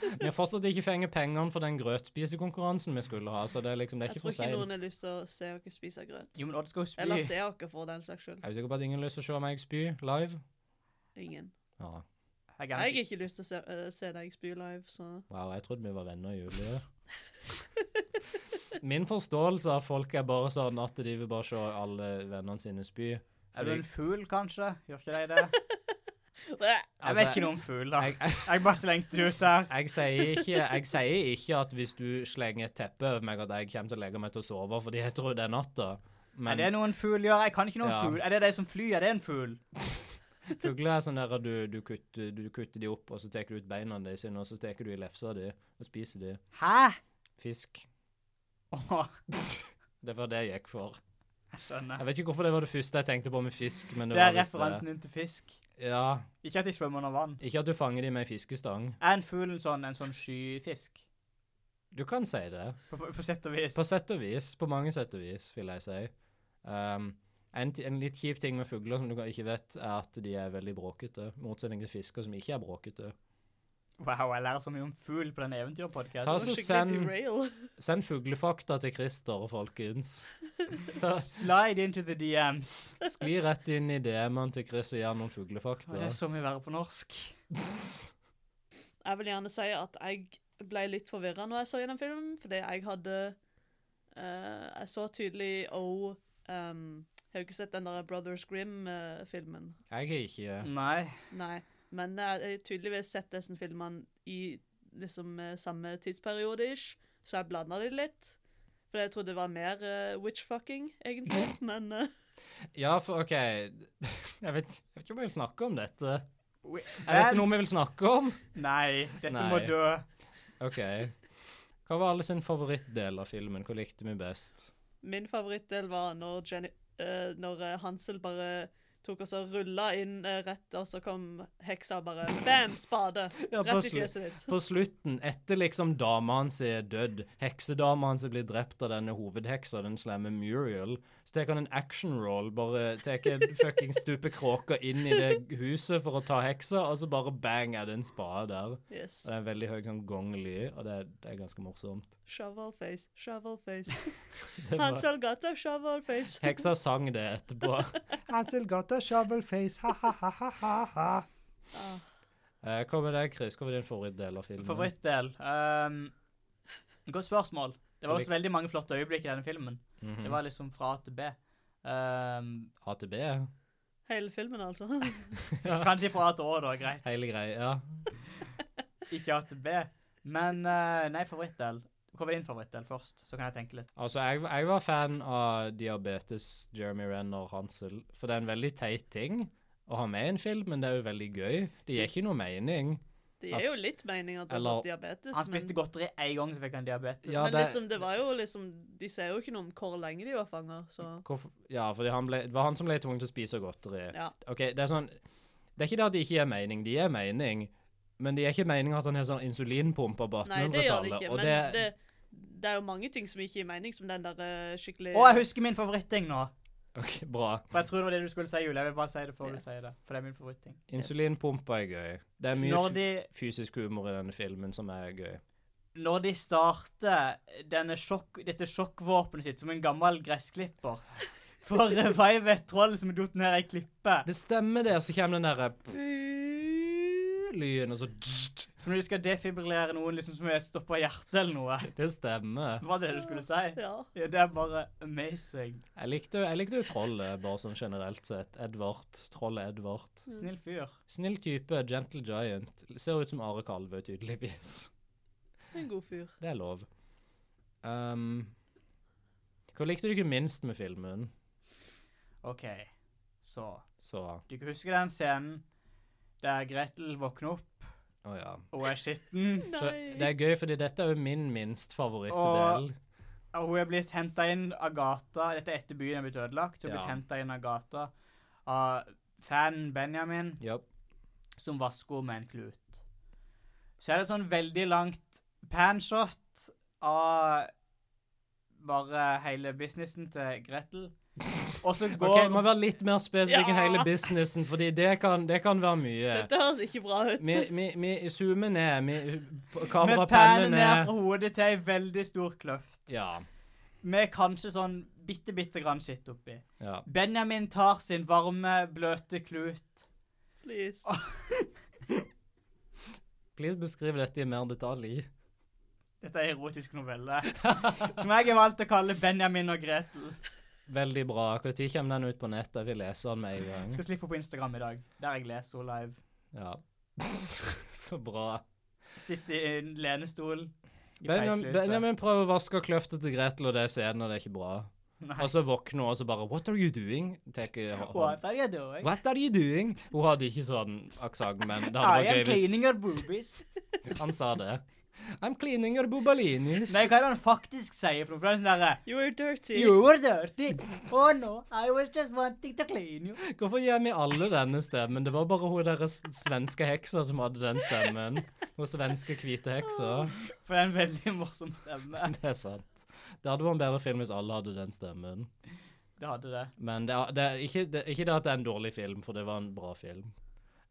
S3: Vi har fortsatt ikke fengt pengene for den grøtspisekonkurransen vi skulle ha, så det er liksom, det er
S4: Jeg
S3: ikke
S4: tror
S3: for
S4: ikke
S3: seint.
S4: noen har lyst til å se dere spise grøt.
S2: Jo, men Odd skal jo spy.
S4: Eller se dere få den slags skyld.
S3: Jeg er sikker på at ingen har lyst til å se meg spy live.
S4: Ingen.
S3: Ja.
S2: Jeg
S4: Jeg
S2: kan
S4: har
S2: ikke-
S4: ikke lyst til å se, øh, se deg spy live, så
S3: Wow, jeg trodde vi var venner, Julie. <laughs> Min forståelse av folk er bare sånn at de vil bare se alle vennene sine spy.
S2: Er du en fugl, kanskje? Gjør ikke de det?
S4: Bæ!
S2: Jeg
S3: Altså,
S2: vet ikke noe om fugler.
S3: Jeg, jeg,
S2: Jeg bare slengte det ut der.
S3: jeg, sier ikke, jeg sier ikke at hvis du slenger et teppe over meg, at jeg kommer til å legge meg til å sove fordi jeg tror det er natta.
S2: Er
S3: <laughs> Men
S2: det noe en fugl gjør? Jeg kan ikke noe om
S3: Ja.
S2: fugl. Er det de som flyr? Er det en fugl?
S3: fugler er sånn der at du, du, kutter, du kutter de opp, og så tar du ut beina de sine, og så tar du i lefsa di, og spiser de.
S2: Hæ? <laughs>
S3: Fisk.
S2: Åh,
S3: Det var det jeg gikk for.
S2: jeg skjønner.
S3: Jeg vet ikke hvorfor det var det første jeg tenkte på med fisk, men det,
S2: Det er
S3: var visst
S2: referansen din til fisk.
S3: det. Ja.
S2: Ikke at de svømmer under vann.
S3: Ikke at du fanger de med en fiskestang.
S2: Er en fugl en sånn, en sånn skyfisk?
S3: Du kan si det.
S2: På, på, på sett og vis.
S3: På sett og vis. På mange sett og vis, vil jeg si. Um, en, ti- en litt kjip ting med fugler som du kan- ikke vet, er at de er veldig bråkete. Motsetning til fisker som ikke er bråkete.
S2: Wow, jeg lærer så mye om fugl på den eventyrpodkasten.
S4: Det
S3: Ta
S4: var
S3: så
S4: skikkelig
S3: send-
S4: derail.
S3: Send fuglefakta til Christer, folkens. Ta,
S2: Slide into the DMs.
S3: skli rett inn i DM-en til Chris og gjør
S2: Å,
S3: noen
S2: det
S3: fuglefakta.
S2: er så mye verre på norsk.
S4: Jeg vil gjerne si at jeg ble litt forvirra når jeg så gjennom filmen, fordi jeg hadde eh, Jeg så tydelig òg um, Har dere sett den der Brothers Grim-filmen?
S3: Jeg er ikke
S2: Nei.
S4: Nei. Men jeg har tydeligvis sett disse filmene i liksom eh, samme tidsperiode, ish, så jeg blanda de litt. For jeg trodde det var mer eh, witchfucking, egentlig, men eh,
S3: Ja, for OK <laughs> Jeg vet, jeg vet ikke om jeg vil snakke om dette.
S2: Wi-
S3: Er dette
S2: Vel,
S3: noe vi vil snakke om?
S2: Nei, dette må
S3: Nei.
S2: dø.
S3: OK. Hva var alle sin favorittdel av filmen? Hva likte vi best?
S4: Min favorittdel var når, Jenny, eh, når eh, Hansel bare tok og så rulla inn eh, rett, og så kom heksa og bare bam, spade!
S3: <laughs> Ja,
S4: rett i
S3: plutselig.
S4: fjeset ditt.
S3: På slutten, etter liksom dama hans er dødd, heksedama hans er blitt drept av denne hovedheksa, den slemme Muriel, så tar han en action roll, bare tar en fucking stupe kråka inn i det huset for å ta heksa, og så bare bang er det en spade der.
S4: Yes.
S3: Og det er en veldig høy sånn gonglyd, og det, det er ganske morsomt.
S4: Shovel face, shovel face.
S3: Det var-
S4: Hansel gata, shovel face.
S3: Heksa sang det etterpå. Hansel got a shovel face, ha-ha-ha-ha-ha.
S4: Ah,
S3: Eh, Hva med deg, Chris? Hva var din favorittdel av filmen?
S2: Favorittdel. Um, godt spørsmål. Det var
S3: Favoritt.
S2: også veldig mange flotte øyeblikk i denne filmen.
S3: Mhm.
S2: Det var liksom fra A til B. Um,
S3: <laughs> AtB?
S4: hele filmen, altså. <laughs>
S2: kanskje fra A til Å, da. Greit.
S3: Hele greia.
S2: Ikke A til B. Men eh, nei, favorittdel. Hva var din favorittdel først? Så kan jeg tenke litt.
S3: Altså, jeg, jeg var fan av diabetes Jeremy Renner Hansel, for det er en veldig teit ting å ha med i en film, men det er jo veldig gøy. Det gir ikke noe mening.
S4: Det gir jo litt mening at han
S3: Eller-
S4: har diabetes,
S2: Han
S4: men,
S2: spiste godteri én gang, så fikk han diabetes.
S3: Ja,
S4: men
S3: det-
S4: liksom, det var jo liksom De sier jo ikke noe om hvor lenge de var fanga, så
S3: Hvorfor, ja, fordi han ble, det var han som ble tvunget til å spise godteri.
S4: ja.
S3: Ok, det er sånn, det er ikke det at de ikke gir mening, de gir mening, men det gir ikke mening at han har sånn insulinpumper
S4: Nei,
S3: på
S4: det gjør det
S3: 1800-tallet.
S4: ikke,
S3: og
S4: men det...
S3: det-
S4: Det, er jo mange ting som ikke gir mening, som den der eh, skikkelig
S2: Å, jeg husker min favoritting nå.
S3: Ok, bra.
S2: For jeg tror det var det du skulle si, Julie. Jeg vil bare si det før
S4: Ja.
S2: du sier det. For det er min favoritting.
S3: Insulinpumper er gøy. Det er mye
S2: Når
S3: f-
S2: de,
S3: fysisk humor i denne filmen som er gøy.
S2: når de starter denne sjokk, dette sjokkvåpenet sitt som en gammel gressklipper For å revive et troll som er datt ned ei klippe.
S3: Det stemmer det, og så kommer den der eh, lyden, og så
S2: Som når de skal defibrillere noen liksom som er stoppa hjertet eller noe.
S3: Det stemmer.
S2: Var det det du skulle si?
S4: Ja.
S2: Ja, det er bare amazing.
S3: Jeg likte, jo- jeg likte jo trollet, bare sånn generelt sett. Edvard. Trollet Edvard.
S2: Snill fyr.
S3: Snill type, gentle giant. Ser ut som Are Kalve, tydeligvis.
S4: En god fyr.
S3: Det er lov. Um, hva likte du ikke minst med filmen?
S2: OK. Så
S3: Så Å
S2: du kan huske den scenen der Gretel våkner opp
S3: ja.
S2: og er skitten.
S3: Så det
S4: Nei.
S3: er gøy, fordi dette er jo min minst favorittdel.
S2: Og- Og hun er blitt henta inn av gata. Dette er etter byen er blitt ødelagt. Hun er
S3: Ja.
S2: blitt hentet inn av gata av fanen Benjamin,
S3: Yep.
S2: som vasker henne med en klut. Så er det et sånn veldig langt panshot av bare hele businessen til Gretel. Og så går
S3: <laughs> OK, må være litt mer spesifikk i
S4: Ja.
S3: hele businessen, fordi det kan, det kan være mye.
S4: Dette høres ikke bra ut.
S3: Vi, vi, vi zoomer ned. Vi,
S2: med
S3: kamerapannen
S2: pannen ned
S3: ned.
S2: fra hodet til ei veldig stor kløft.
S3: Ja.
S2: Med kanskje sånn bitte, bitte grann skitt oppi.
S3: ja.
S2: Benjamin tar sin varme, bløte klut.
S4: Please.
S3: Ah. Please beskriv dette i mer detalj.
S2: Dette er erotisk novelle.
S3: <laughs>
S2: Som jeg har valgt å kalle Benjamin og Gretel.
S3: Veldig bra. Når kommer den ut på nettet? Jeg vil lese den med en gang.
S2: Skal slippe på Instagram i dag, der jeg leser henne live.
S3: Ja. <laughs> Så bra.
S2: Sitter i en lenestol. i
S3: Benjamin,
S2: peislyset.
S3: Benjamin prøver å vaske kløfta til Gretel, og det er scenen, og det er ikke bra.
S2: Nei.
S3: Og så våkner hun, og så bare What are you doing? Tek i hånden.
S2: What are you doing?
S3: What are you doing? Hun hadde ikke sånn aksent, men
S2: I
S3: det hadde
S2: am
S3: vært gøy
S2: cleaning
S3: hvis
S2: your boobies.
S3: han sa det. I'm cleaning your bobalinis.
S2: Nei, hva er det han faktisk sier? For noe? For det er sånn derre
S3: <laughs>
S4: You were dirty.
S2: You were dirty. Oh no, I was just wanting to clean you.
S3: Hvorfor gjør vi alle denne stemmen? Det var bare hun der s- svenske heksa som hadde den stemmen. Hun svenske hvite heksa.
S2: For det er en veldig morsom stemme.
S3: Det er sant. Det hadde vært en bedre film hvis alle hadde den stemmen.
S2: Det hadde det.
S3: Men det er, det er ikke, det, ikke det at det er en dårlig film, for det var en bra film.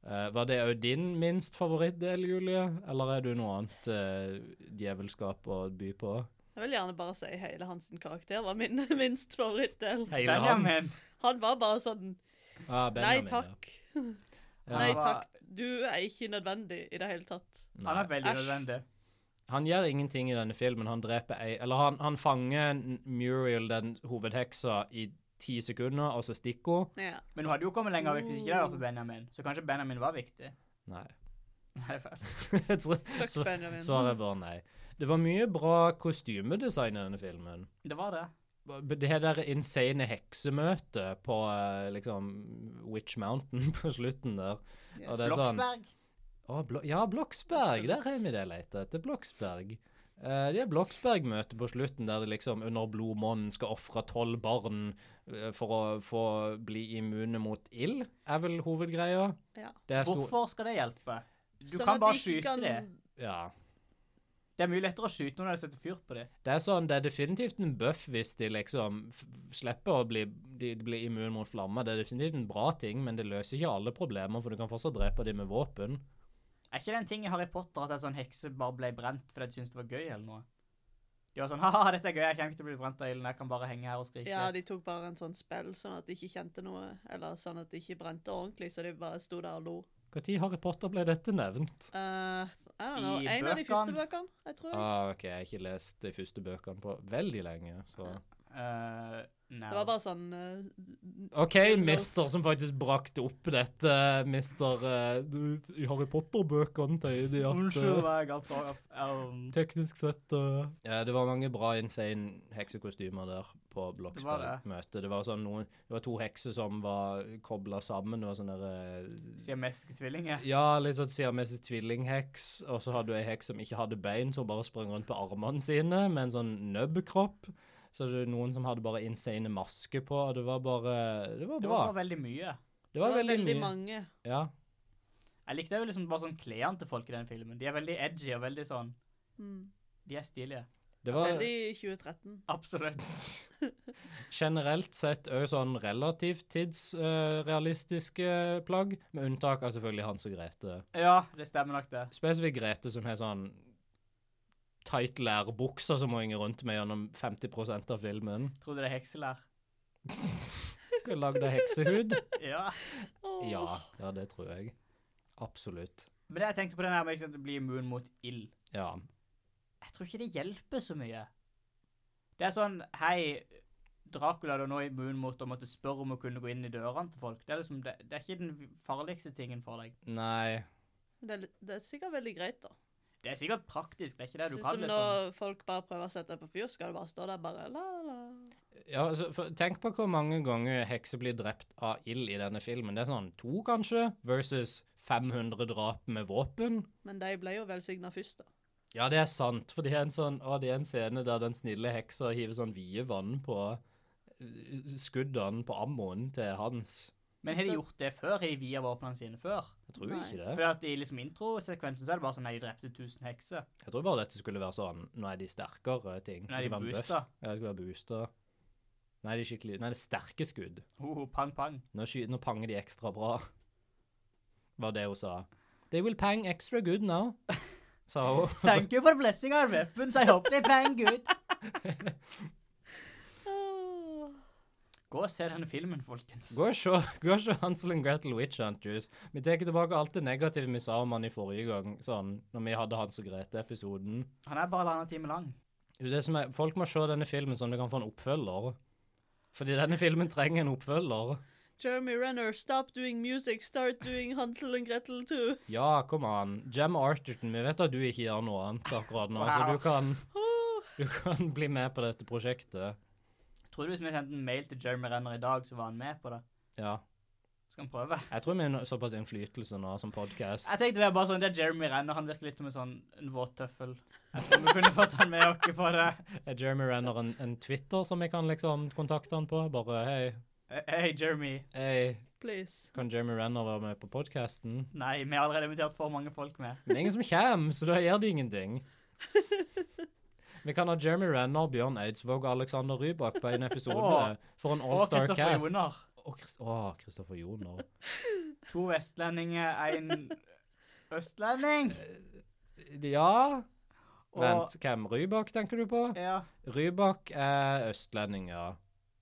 S3: Eh, var det òg din minst favorittdel, Julie? Eller er du noe annet eh, djevelskap å by på?
S4: Jeg vil gjerne bare si hele hans karakter var min <laughs> minst favorittdel.
S3: Hele
S2: Benjamin.
S3: hans?
S4: Han var bare sånn
S3: Ah,
S4: Nei
S3: Benjamin,
S4: takk.
S3: Ja.
S4: Nei
S3: Ja.
S2: var-
S4: takk. Du er ikke nødvendig i det hele tatt.
S2: Han er
S3: Nei.
S2: veldig
S4: Æsj.
S2: nødvendig.
S3: Han gjør ingenting i denne filmen. Han dreper ei Eller han, han fanger N- Muriel, den hovedheksa, i ti sekunder, og så stikker hun.
S4: Ja.
S2: Men hun hadde jo kommet lenger vekk hvis ikke det var for Benjamin. Så kanskje Benjamin var viktig. <laughs>
S3: Nei. <laughs>
S2: Nei, feil.
S3: Jeg tror-
S4: Fuck
S3: så-
S4: Benjamin.
S3: Svaret var nei. Det var mye bra kostymedesign i denne filmen.
S2: Det var det.
S3: Det her der insane heksemøtet på eh, liksom Witch Mountain <laughs> på slutten der. Og det er sånn
S2: Bloksberg.
S3: Å, Blo ja, Bloksberg. Der har vi det jeg leter etter. Bloksberg. Eh, det er Bloksberg-møte på slutten, der det liksom under blodmånen skal ofre tolv barn eh, for å få bli immune mot ild, er vel hovedgreia.
S4: Ja.
S3: Det er stor...
S2: Hvorfor skal det hjelpe? Du
S4: Sånn
S2: kan
S4: at
S2: bare
S4: de ikke
S2: skyte
S4: kan-
S2: det.
S3: Ja.
S2: Det er mye lettere å skyte når de setter fyr på det.
S3: Det er sånn, det er definitivt en bøff hvis de liksom f slipper å bli, de, de blir immune mot flammer. Det er definitivt en bra ting, men det løser ikke alle problemer, for du kan fortsatt drepe dem med våpen.
S2: Er ikke det en ting i Harry Potter at en sånn hekse bare ble brent fordi de syntes det var gøy, eller noe? De var sånn <laughs> ha dette er gøy, jeg kommer ikke til å bli brent av ilden, jeg kan bare henge her og skrike.
S4: Ja, de tok bare en sånn spill, sånn at de ikke kjente noe. Eller sånn at de ikke brente ordentlig, så de bare sto der og lo.
S3: Når Harry Potter ble dette nevnt?
S4: Eh, I don't know.
S2: I
S4: En av de
S2: bøkene.
S4: første bøkene, jeg tror.
S3: Ah, ok, jeg har ikke lest de første bøkene på veldig lenge, så
S2: Eh, nei.
S4: Det var bare sånn eh,
S3: OK, mister som faktisk brakte opp dette, mister eh, du- I Harry Potter-bøkene sier de at
S2: Unnskyld
S3: eh,
S2: meg, alt var um,
S3: teknisk sett eh, ja, Det var mange bra insane heksekostymer der på
S2: det.
S3: Bloksberg-møtet. Det, var sånn noen- det var to hekser som var kobla sammen. Det var sånne der, eh,
S2: Siameske tvillinger.
S3: ja, litt sånn siamesisk tvillingheks, og så hadde du ei heks som ikke hadde bein, så hun bare sprang rundt på armene sine med en sånn nubbkropp. Så det var noen som hadde bare insane maske på, og det var bare Det var
S2: Det
S3: bra.
S2: var bare veldig mye.
S3: Det var veldig, mye.
S4: mange.
S3: Ja.
S2: Jeg likte jo liksom bare sånn klærne til folk i den filmen. De er veldig edgy og veldig sånn
S4: Mm.
S2: De er stilige.
S3: Det var
S4: Veldig i 2013.
S2: Absolutt. <laughs>
S3: generelt sett òg sånn relativt tidsrealistiske plagg, med unntak av selvfølgelig Hans og Grete.
S2: Ja, det stemmer nok, det.
S3: Spesifikt Grete, som har sånn tight lærbukser som hun henger rundt med gjennom 50 av filmen.
S2: Tror du det er hekselær?
S3: Lagd av heksehud.
S2: Ja.
S4: Åh.
S3: Ja, ja, det tror jeg. Absolutt.
S2: Men det jeg tenkte på den her med ikke sant, å bli immun mot ild
S3: Ja.
S2: Jeg tror ikke det hjelper så mye. Det er sånn Hei, Dracula du er nå immun mot å måtte spørre om å kunne gå inn i dørene til folk. Det er liksom, det, det er ikke den farligste tingen for deg.
S3: Nei.
S4: Det, er litt- det er sikkert veldig greit, da.
S2: Det er sikkert praktisk, det er ikke det
S4: Sånn
S2: du kan,
S4: som
S2: liksom.
S4: når folk bare prøver å sette deg på fyr, skal du bare stå der bare la, la.
S3: Ja, altså, for, tenk på hvor mange ganger hekser blir drept av ild i denne filmen. Det er sånn to, kanskje, versus 500 drap med våpen.
S4: Men de ble jo velsigna først, da.
S3: Ja, det er sant, for det er en, sånn, å, det er en scene der den snille heksa hiver sånn vide vann på eh, skuddene på ammoen til Hans.
S2: Men har de gjort det før? Har de via våpnene sine før?
S3: Jeg tror
S4: Nei.
S3: ikke
S2: For
S3: det.
S2: at i liksom introsekvensen så er det bare sånn Nei, de drepte 1000 hekser.
S3: Jeg tror bare dette skulle være sånn Nå er de sterkere ting.
S2: Nå er de
S3: Skulle være en buff.
S2: boosta.
S3: Ja, det skulle være boosta. Nei, de er skikkelig Nei, det er sterke skudd.
S2: Ho, ho, pang, pang.
S3: Nå, sky, nå panger de ekstra bra. Var det hun sa. They will pang extra good now, sa hun.
S2: Thank you for blessing our weapons. I hope they pang good.
S4: Åh.
S2: Gå og se denne filmen, folkens.
S3: Gå og se, gå og se Hansel and Gretel Witch Hunters. Vi tar tilbake alt det negative vi sa om han i forrige gang, sånn, når vi hadde Hans og Grete-episoden.
S2: Han er bare halvannen time lang.
S3: Det som er, Folk må se denne filmen sånn at de kan få en oppfølger. Fordi denne filmen trenger en oppfølger.
S4: Jeremy Renner, stop doing music, start doing Hansel and Gretel too.
S3: Ja, kom an. Gemma Arterton, vi vet at du ikke gjør noe annet akkurat nå, så
S2: Wow.
S3: du kan,
S4: Åh.
S3: du kan bli med på dette prosjektet.
S2: Tror du hvis vi sendte en mail til Jeremy Renner i dag, så var han med på det?
S3: Ja.
S2: Skal han prøve?
S3: Jeg tror vi har såpass innflytelse nå som podkast.
S2: Jeg tenkte det var bare sånn, det er Jeremy Renner, han virker litt som en sånn en våttøffel. Jeg tror vi kunne fått han med oss på det.
S3: Er Jeremy Renner en, en Twitter som jeg kan liksom kontakte han på? Bare hei,
S2: Hei, Eh, Jeremy.
S3: hei,
S4: Please.
S3: kan Jeremy Renner være med på podkasten?
S2: Nei, vi har allerede invitert for mange folk med.
S3: Men det er ingen som kommer, så da gjør
S2: <laughs>
S3: det ingenting. Vi kan ha Jeremy Renner, Bjørn Eidsvåg og Alexander Rybak på en episode
S2: Åh,
S3: for en
S2: Og
S3: All-Star
S2: Kristoffer
S3: Cast.
S2: Joner.
S3: Og Chris- Åh, Kristoffer Joner.
S2: To vestlendinger, en østlending.
S3: Ja
S2: Og,
S3: Vent, hvem? Rybak tenker du på?
S2: Ja,
S3: Rybak er østlending, ja.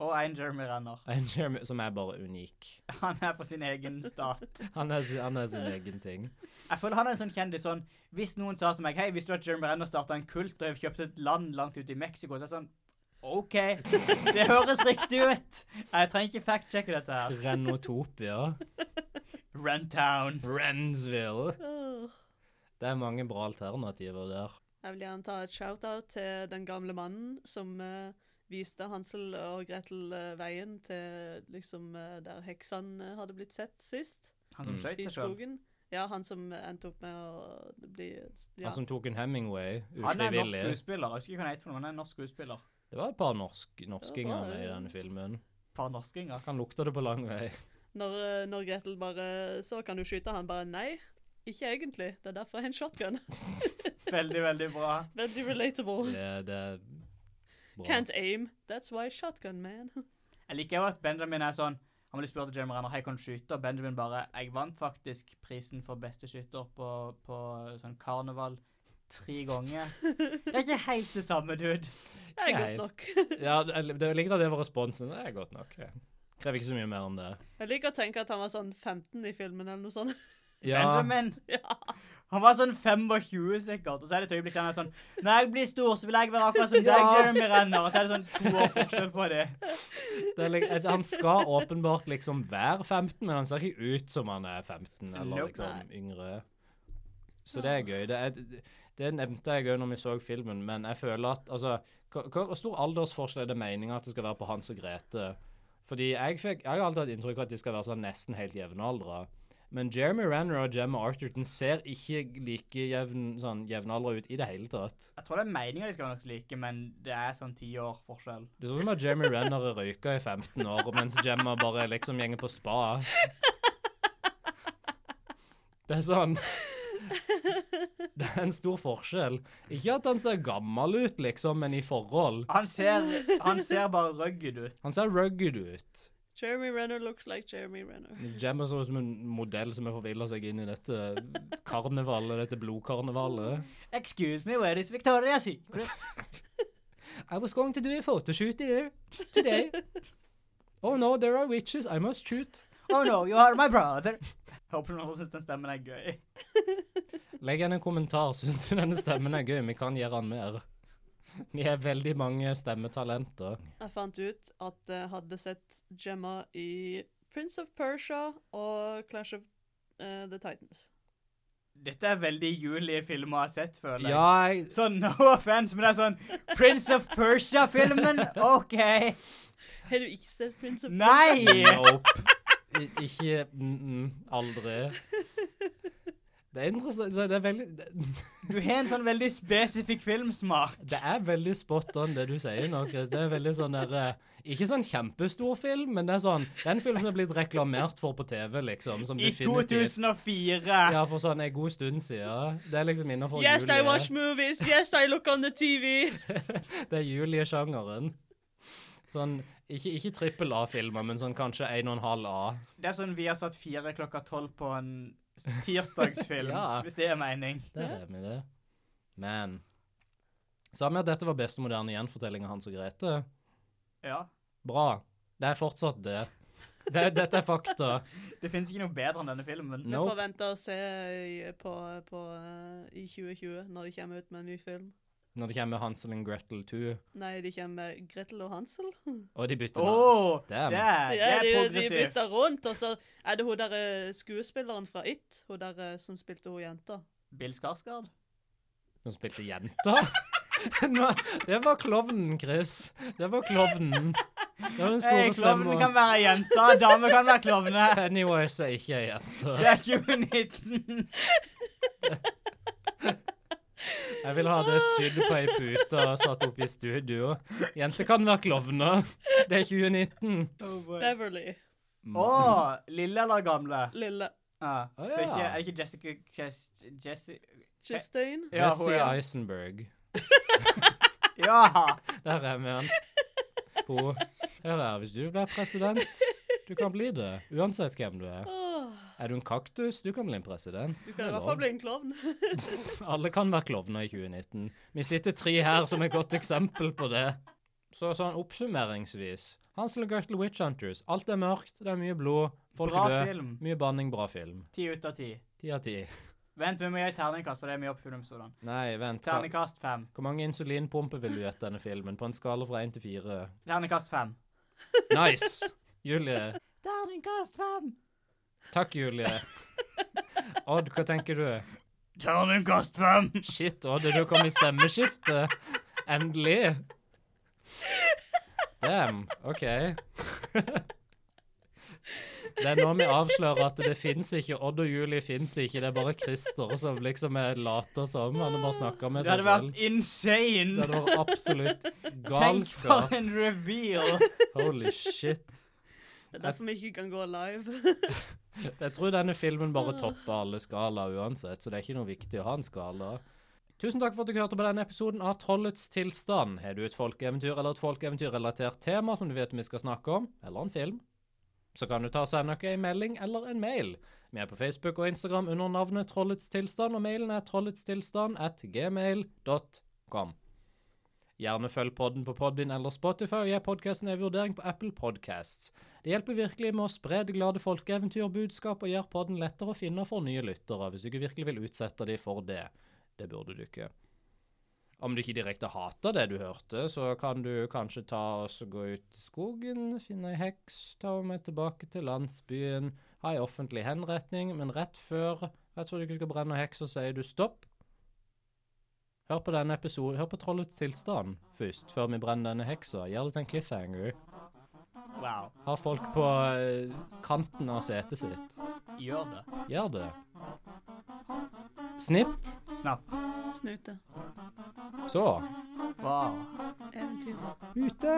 S3: <laughs>
S2: og en Jeremy Renner.
S3: En Jeremy som er bare unik.
S2: Han er på sin egen stat.
S3: Han er, si- han er sin egen ting.
S2: Jeg føler han er en sånn kjendis sånn, hvis noen sa til meg, hei, visste du at Jeremy Renner startet en kult og kjøpte et land langt ut i Meksiko, så er jeg sånn, ok, det høres riktig ut. Jeg trenger ikke fact-checke dette her.
S3: <laughs> Renotopia.
S2: Rentown.
S3: Rensville.
S4: Åh.
S3: Det er mange bra alternativer der.
S4: Jeg vil gjerne ta et shout-out til den gamle mannen som eh, viste Hansel og Gretel eh, veien til liksom eh, der heksene eh, hadde blitt sett sist,
S2: Han som
S3: Mm.
S2: skjøt
S4: i
S2: seg sjøl.
S4: skogen. Ja, han som endte opp med å bli ja.
S3: Han som tok en Hemingway
S2: Han er en norsk
S3: ufrivillig.
S2: skuespiller. Jeg husker ikke hva han heter, for noe, men han er en norsk skuespiller.
S3: Det var et par norsk, norskinger
S4: Ja, det
S3: med
S4: var-
S3: i denne filmen.
S2: Par norskinger.
S3: Kan lukte det på lang vei.
S4: <laughs> Når, eh, når Gretel bare Så kan du skyte han bare Nei, ikke egentlig. Det er derfor jeg har en shotgun. <laughs>
S2: Veldig, veldig bra.
S4: Veldig relatable.
S3: Det, det er bra.
S4: Can't aim. That's why shotgun, man. <laughs>
S2: Jeg liker jo at Benjamin er sånn Han ville spurt Jeremy Renner hei, kan du skyte, og Benjamin bare Jeg vant faktisk prisen for beste skytter på, på sånn karneval tre ganger. Det er ikke helt det samme, dude.
S4: Det er
S3: Nei.
S4: godt nok. <laughs>
S3: Ja, det jeg likte at det var responsen. Det er godt nok. ja. Krever ikke så mye mer om det.
S4: Jeg liker å tenke at han var sånn 15 i filmen eller noe sånt. <laughs>
S3: Ja,
S2: Benjamin.
S4: Ja.
S2: Han var sånn 25 sikkert, og så er det et øyeblikk der han er sånn Når jeg blir stor, så vil jeg være akkurat som deg,
S3: Ja.
S2: Jeremy Renner. Og så er det sånn to år forskjell på det.
S3: det er, lik- han skal åpenbart liksom være 15, men han ser ikke ut som han er 15 eller
S2: Nope.
S3: liksom yngre. Så det er gøy. Det, er, det nevnte jeg òg når vi så filmen, men jeg føler at altså, Hvor hvor stor aldersforskjell er det meninga at det skal være på Hans og Grete? Fordi jeg, fikk, jeg har alltid hatt inntrykk av at de skal være sånn nesten helt jevnaldra. Men Jeremy Renner og Gemma Arterton ser ikke like jevn, sånn, jevnaldra ut i det hele tatt.
S2: Jeg tror det er meninga de skal være nokså like, men det er sånn ti år forskjell.
S3: Det er sånn som at Jeremy Renner er røyka i 15 år, mens Gemma bare liksom gjenger på spa. Det er sånn Det er en stor forskjell. Ikke at han ser gammel ut, liksom, men i forhold.
S2: Han ser, han ser bare rugged ut.
S3: Han ser rugged ut.
S4: Jeremy Renner looks like Jeremy Renner.
S3: Gemma ser ut som en modell som har forvilla seg inn i dette karnevalet, dette blodkarnevalet.
S2: Excuse me, where is Victoria Secret?
S3: I was going to do a photoshoot here today. Oh no, there are witches. I must shoot.
S2: Oh no, you are my brother. Håper noen syns den stemmen er gøy.
S3: Legg igjen en kommentar. Syns du denne stemmen er gøy? Vi kan gjøre den mer. Vi er veldig mange stemmetalenter.
S4: Jeg fant ut at jeg hadde sett Gemma i Prince of Persia og Clash of eh, the Titans.
S2: Dette er veldig juli-filmer jeg har sett, føler jeg.
S3: Ja, jeg,
S2: Sånn, no offense, men det er sånn Prince of Persia-filmen, OK!
S4: Har du ikke sett Prince of
S2: Nei!
S3: Nope. I- Ikke mm, mm, Aldri. Det er interessant så Det er veldig det-
S2: Du har en sånn veldig spesifikk filmsmak.
S3: Det er veldig spot on, det du sier nå, Chris. Det er veldig sånn der eh, Ikke sånn kjempestor film, men det er sånn Det er en film som er blitt reklamert for på TV, liksom. Som
S2: I
S3: definitivt
S2: 2004.
S3: Ja, for sånn en god stund siden. Det er liksom innafor
S4: Yes, I watch movies. Yes, I look on the TV.
S3: Det er juliesjangeren. Sånn Ikke, ikke trippel A-filmer, men sånn kanskje 1,5 A.
S2: Det er sånn vi har satt fire klokka tolv på en s- tirsdagsfilm,
S3: Ja.
S2: hvis det er mening.
S3: Der er vi det. Men Sa vi at dette var beste moderne gjenfortelling av Hans og Grete?
S2: Ja.
S3: Bra. Det er fortsatt det. det dette er fakta.
S2: <laughs> Det fins ikke noe bedre enn denne filmen.
S4: Vi
S3: Nope.
S4: får vente og se i- på, på eh, i 2020, når de kommer ut med en ny film.
S3: Når det kommer Hansel and Gretel 2,
S4: Nei, de kommer med Gretel og Hansel. <laughs>
S3: og de bytter
S2: Åh,
S3: navn.
S2: det,
S3: Damn.
S2: er- det er
S4: de, de
S2: progressivt.
S4: bytter rundt, og så er det hun der eh, skuespilleren fra It, hun der eh, som spilte hun jenta.
S2: Bill Skarsgård?
S3: Hun spilte jenta. <laughs> Nå- det var klovnen, Chris. Det var klovnen. Det var den
S2: Hey,
S3: store
S2: klovnen kan
S3: stemmen.
S2: være <laughs> jenta, damer kan være klovne.
S3: Pennywise er ikke ei jente.
S2: Det er 2019.
S3: Jeg vil ha det sydd på ei pute og satt opp i studio. Jenter kan være klovner. Det er 2019.
S2: Å,
S4: Beverly.
S2: lille eller gamle?
S4: Lille.
S2: Ja.
S3: Å,
S2: Så ikke,
S3: ja.
S2: er det ikke Jessica Kes- Jessi...
S4: Justine.
S2: Ja, hun,
S3: Jesse
S2: ja.
S3: Eisenberg.
S2: ja.
S3: Der er vi han. Hun. Hør her, hvis du blir president, du kan bli det. Uansett hvem du er.
S4: Åh,
S3: Er du en kaktus, du kan bli en president.
S4: du kan i
S3: Det er
S4: hvert
S3: lov.
S4: fall bli en klovn. <laughs>
S3: Alle kan være klovner i 2019. Vi sitter tre her som et godt eksempel på det. Så sånn oppsummeringsvis. Hansel og Gretel Witch Hunters. Alt er mørkt, det er mye blod, folk
S2: Bra
S3: er døde.
S2: film.
S3: Mye banning, bra film.
S2: Ti ut av ti.
S3: Ti av ti.
S2: Vent, vi må gi terningkast, for det er mye opp filmsodene.
S3: Nei, vent. Hva,
S2: Terningkast fem.
S3: hvor mange insulinpumper vil du gjette denne filmen? På en skala fra én til fire?
S2: Terningkast fem.
S3: Nice! Julie.
S2: Terningkast fem.
S3: Takk, Julie. Odd, hva tenker du?
S2: Terningkast fem.
S3: Shit, Odd, er du kommet i stemmeskiftet? Endelig. Damn. OK. Det er nå vi avslører at det fins ikke. Odd og Julie fins ikke. Det er bare Christer som liksom er later som. Han har bare snakka med
S2: Det
S3: seg
S2: hadde vært
S3: selv. Det
S2: insane.
S3: hadde vært absolutt
S2: Tenk for
S3: galskap.
S2: en reveal.
S3: Holy shit.
S4: Det er derfor vi ikke kan gå live.
S3: <laughs> Jeg tror denne filmen bare topper alle skalaer uansett, så det er ikke noe viktig å ha en skala. Tusen takk for at du hørte på denne episoden av Trollets tilstand. Har du et folkeeventyr eller et folkeeventyrrelatert tema som du vet vi skal snakke om, eller en film, så kan du ta og sende oss en melding eller en mail. Vi er på Facebook og Instagram under navnet Trollets tilstand, og mailen er trolletstilstand at gmail.com. Gjerne følg podden på Podbin eller Spotify, og gi podkasten en vurdering på Apple Podcasts. Det hjelper virkelig med å spre det glade folkeeventyrbudskap, og gjør podden lettere å finne for nye lyttere, hvis du ikke virkelig vil utsette dem for det. Det burde du ikke. Om du ikke direkte hater det du hørte, så kan du kanskje ta og så gå ut i skogen, finne ei heks, ta med tilbake til landsbyen, ha ei offentlig henretning, men rett før, rett før du ikke skal brenne heks, så sier du stopp. Hør på denne episoden, hør på Trollets tilstand først, før vi brenner denne heksa. Gjør det til en cliffhanger.
S2: Wow.
S3: Ha folk på eh, kanten av setet sitt.
S2: Gjør det.
S3: Gjør det. Snipp.
S2: Snapp.
S4: Snute.
S3: Så.
S2: Wow.
S4: Eventyr.
S3: Ute!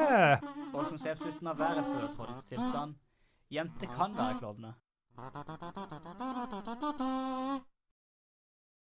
S2: Og som ser på slutten av været før trollets tilstand, jenter kan være klovner.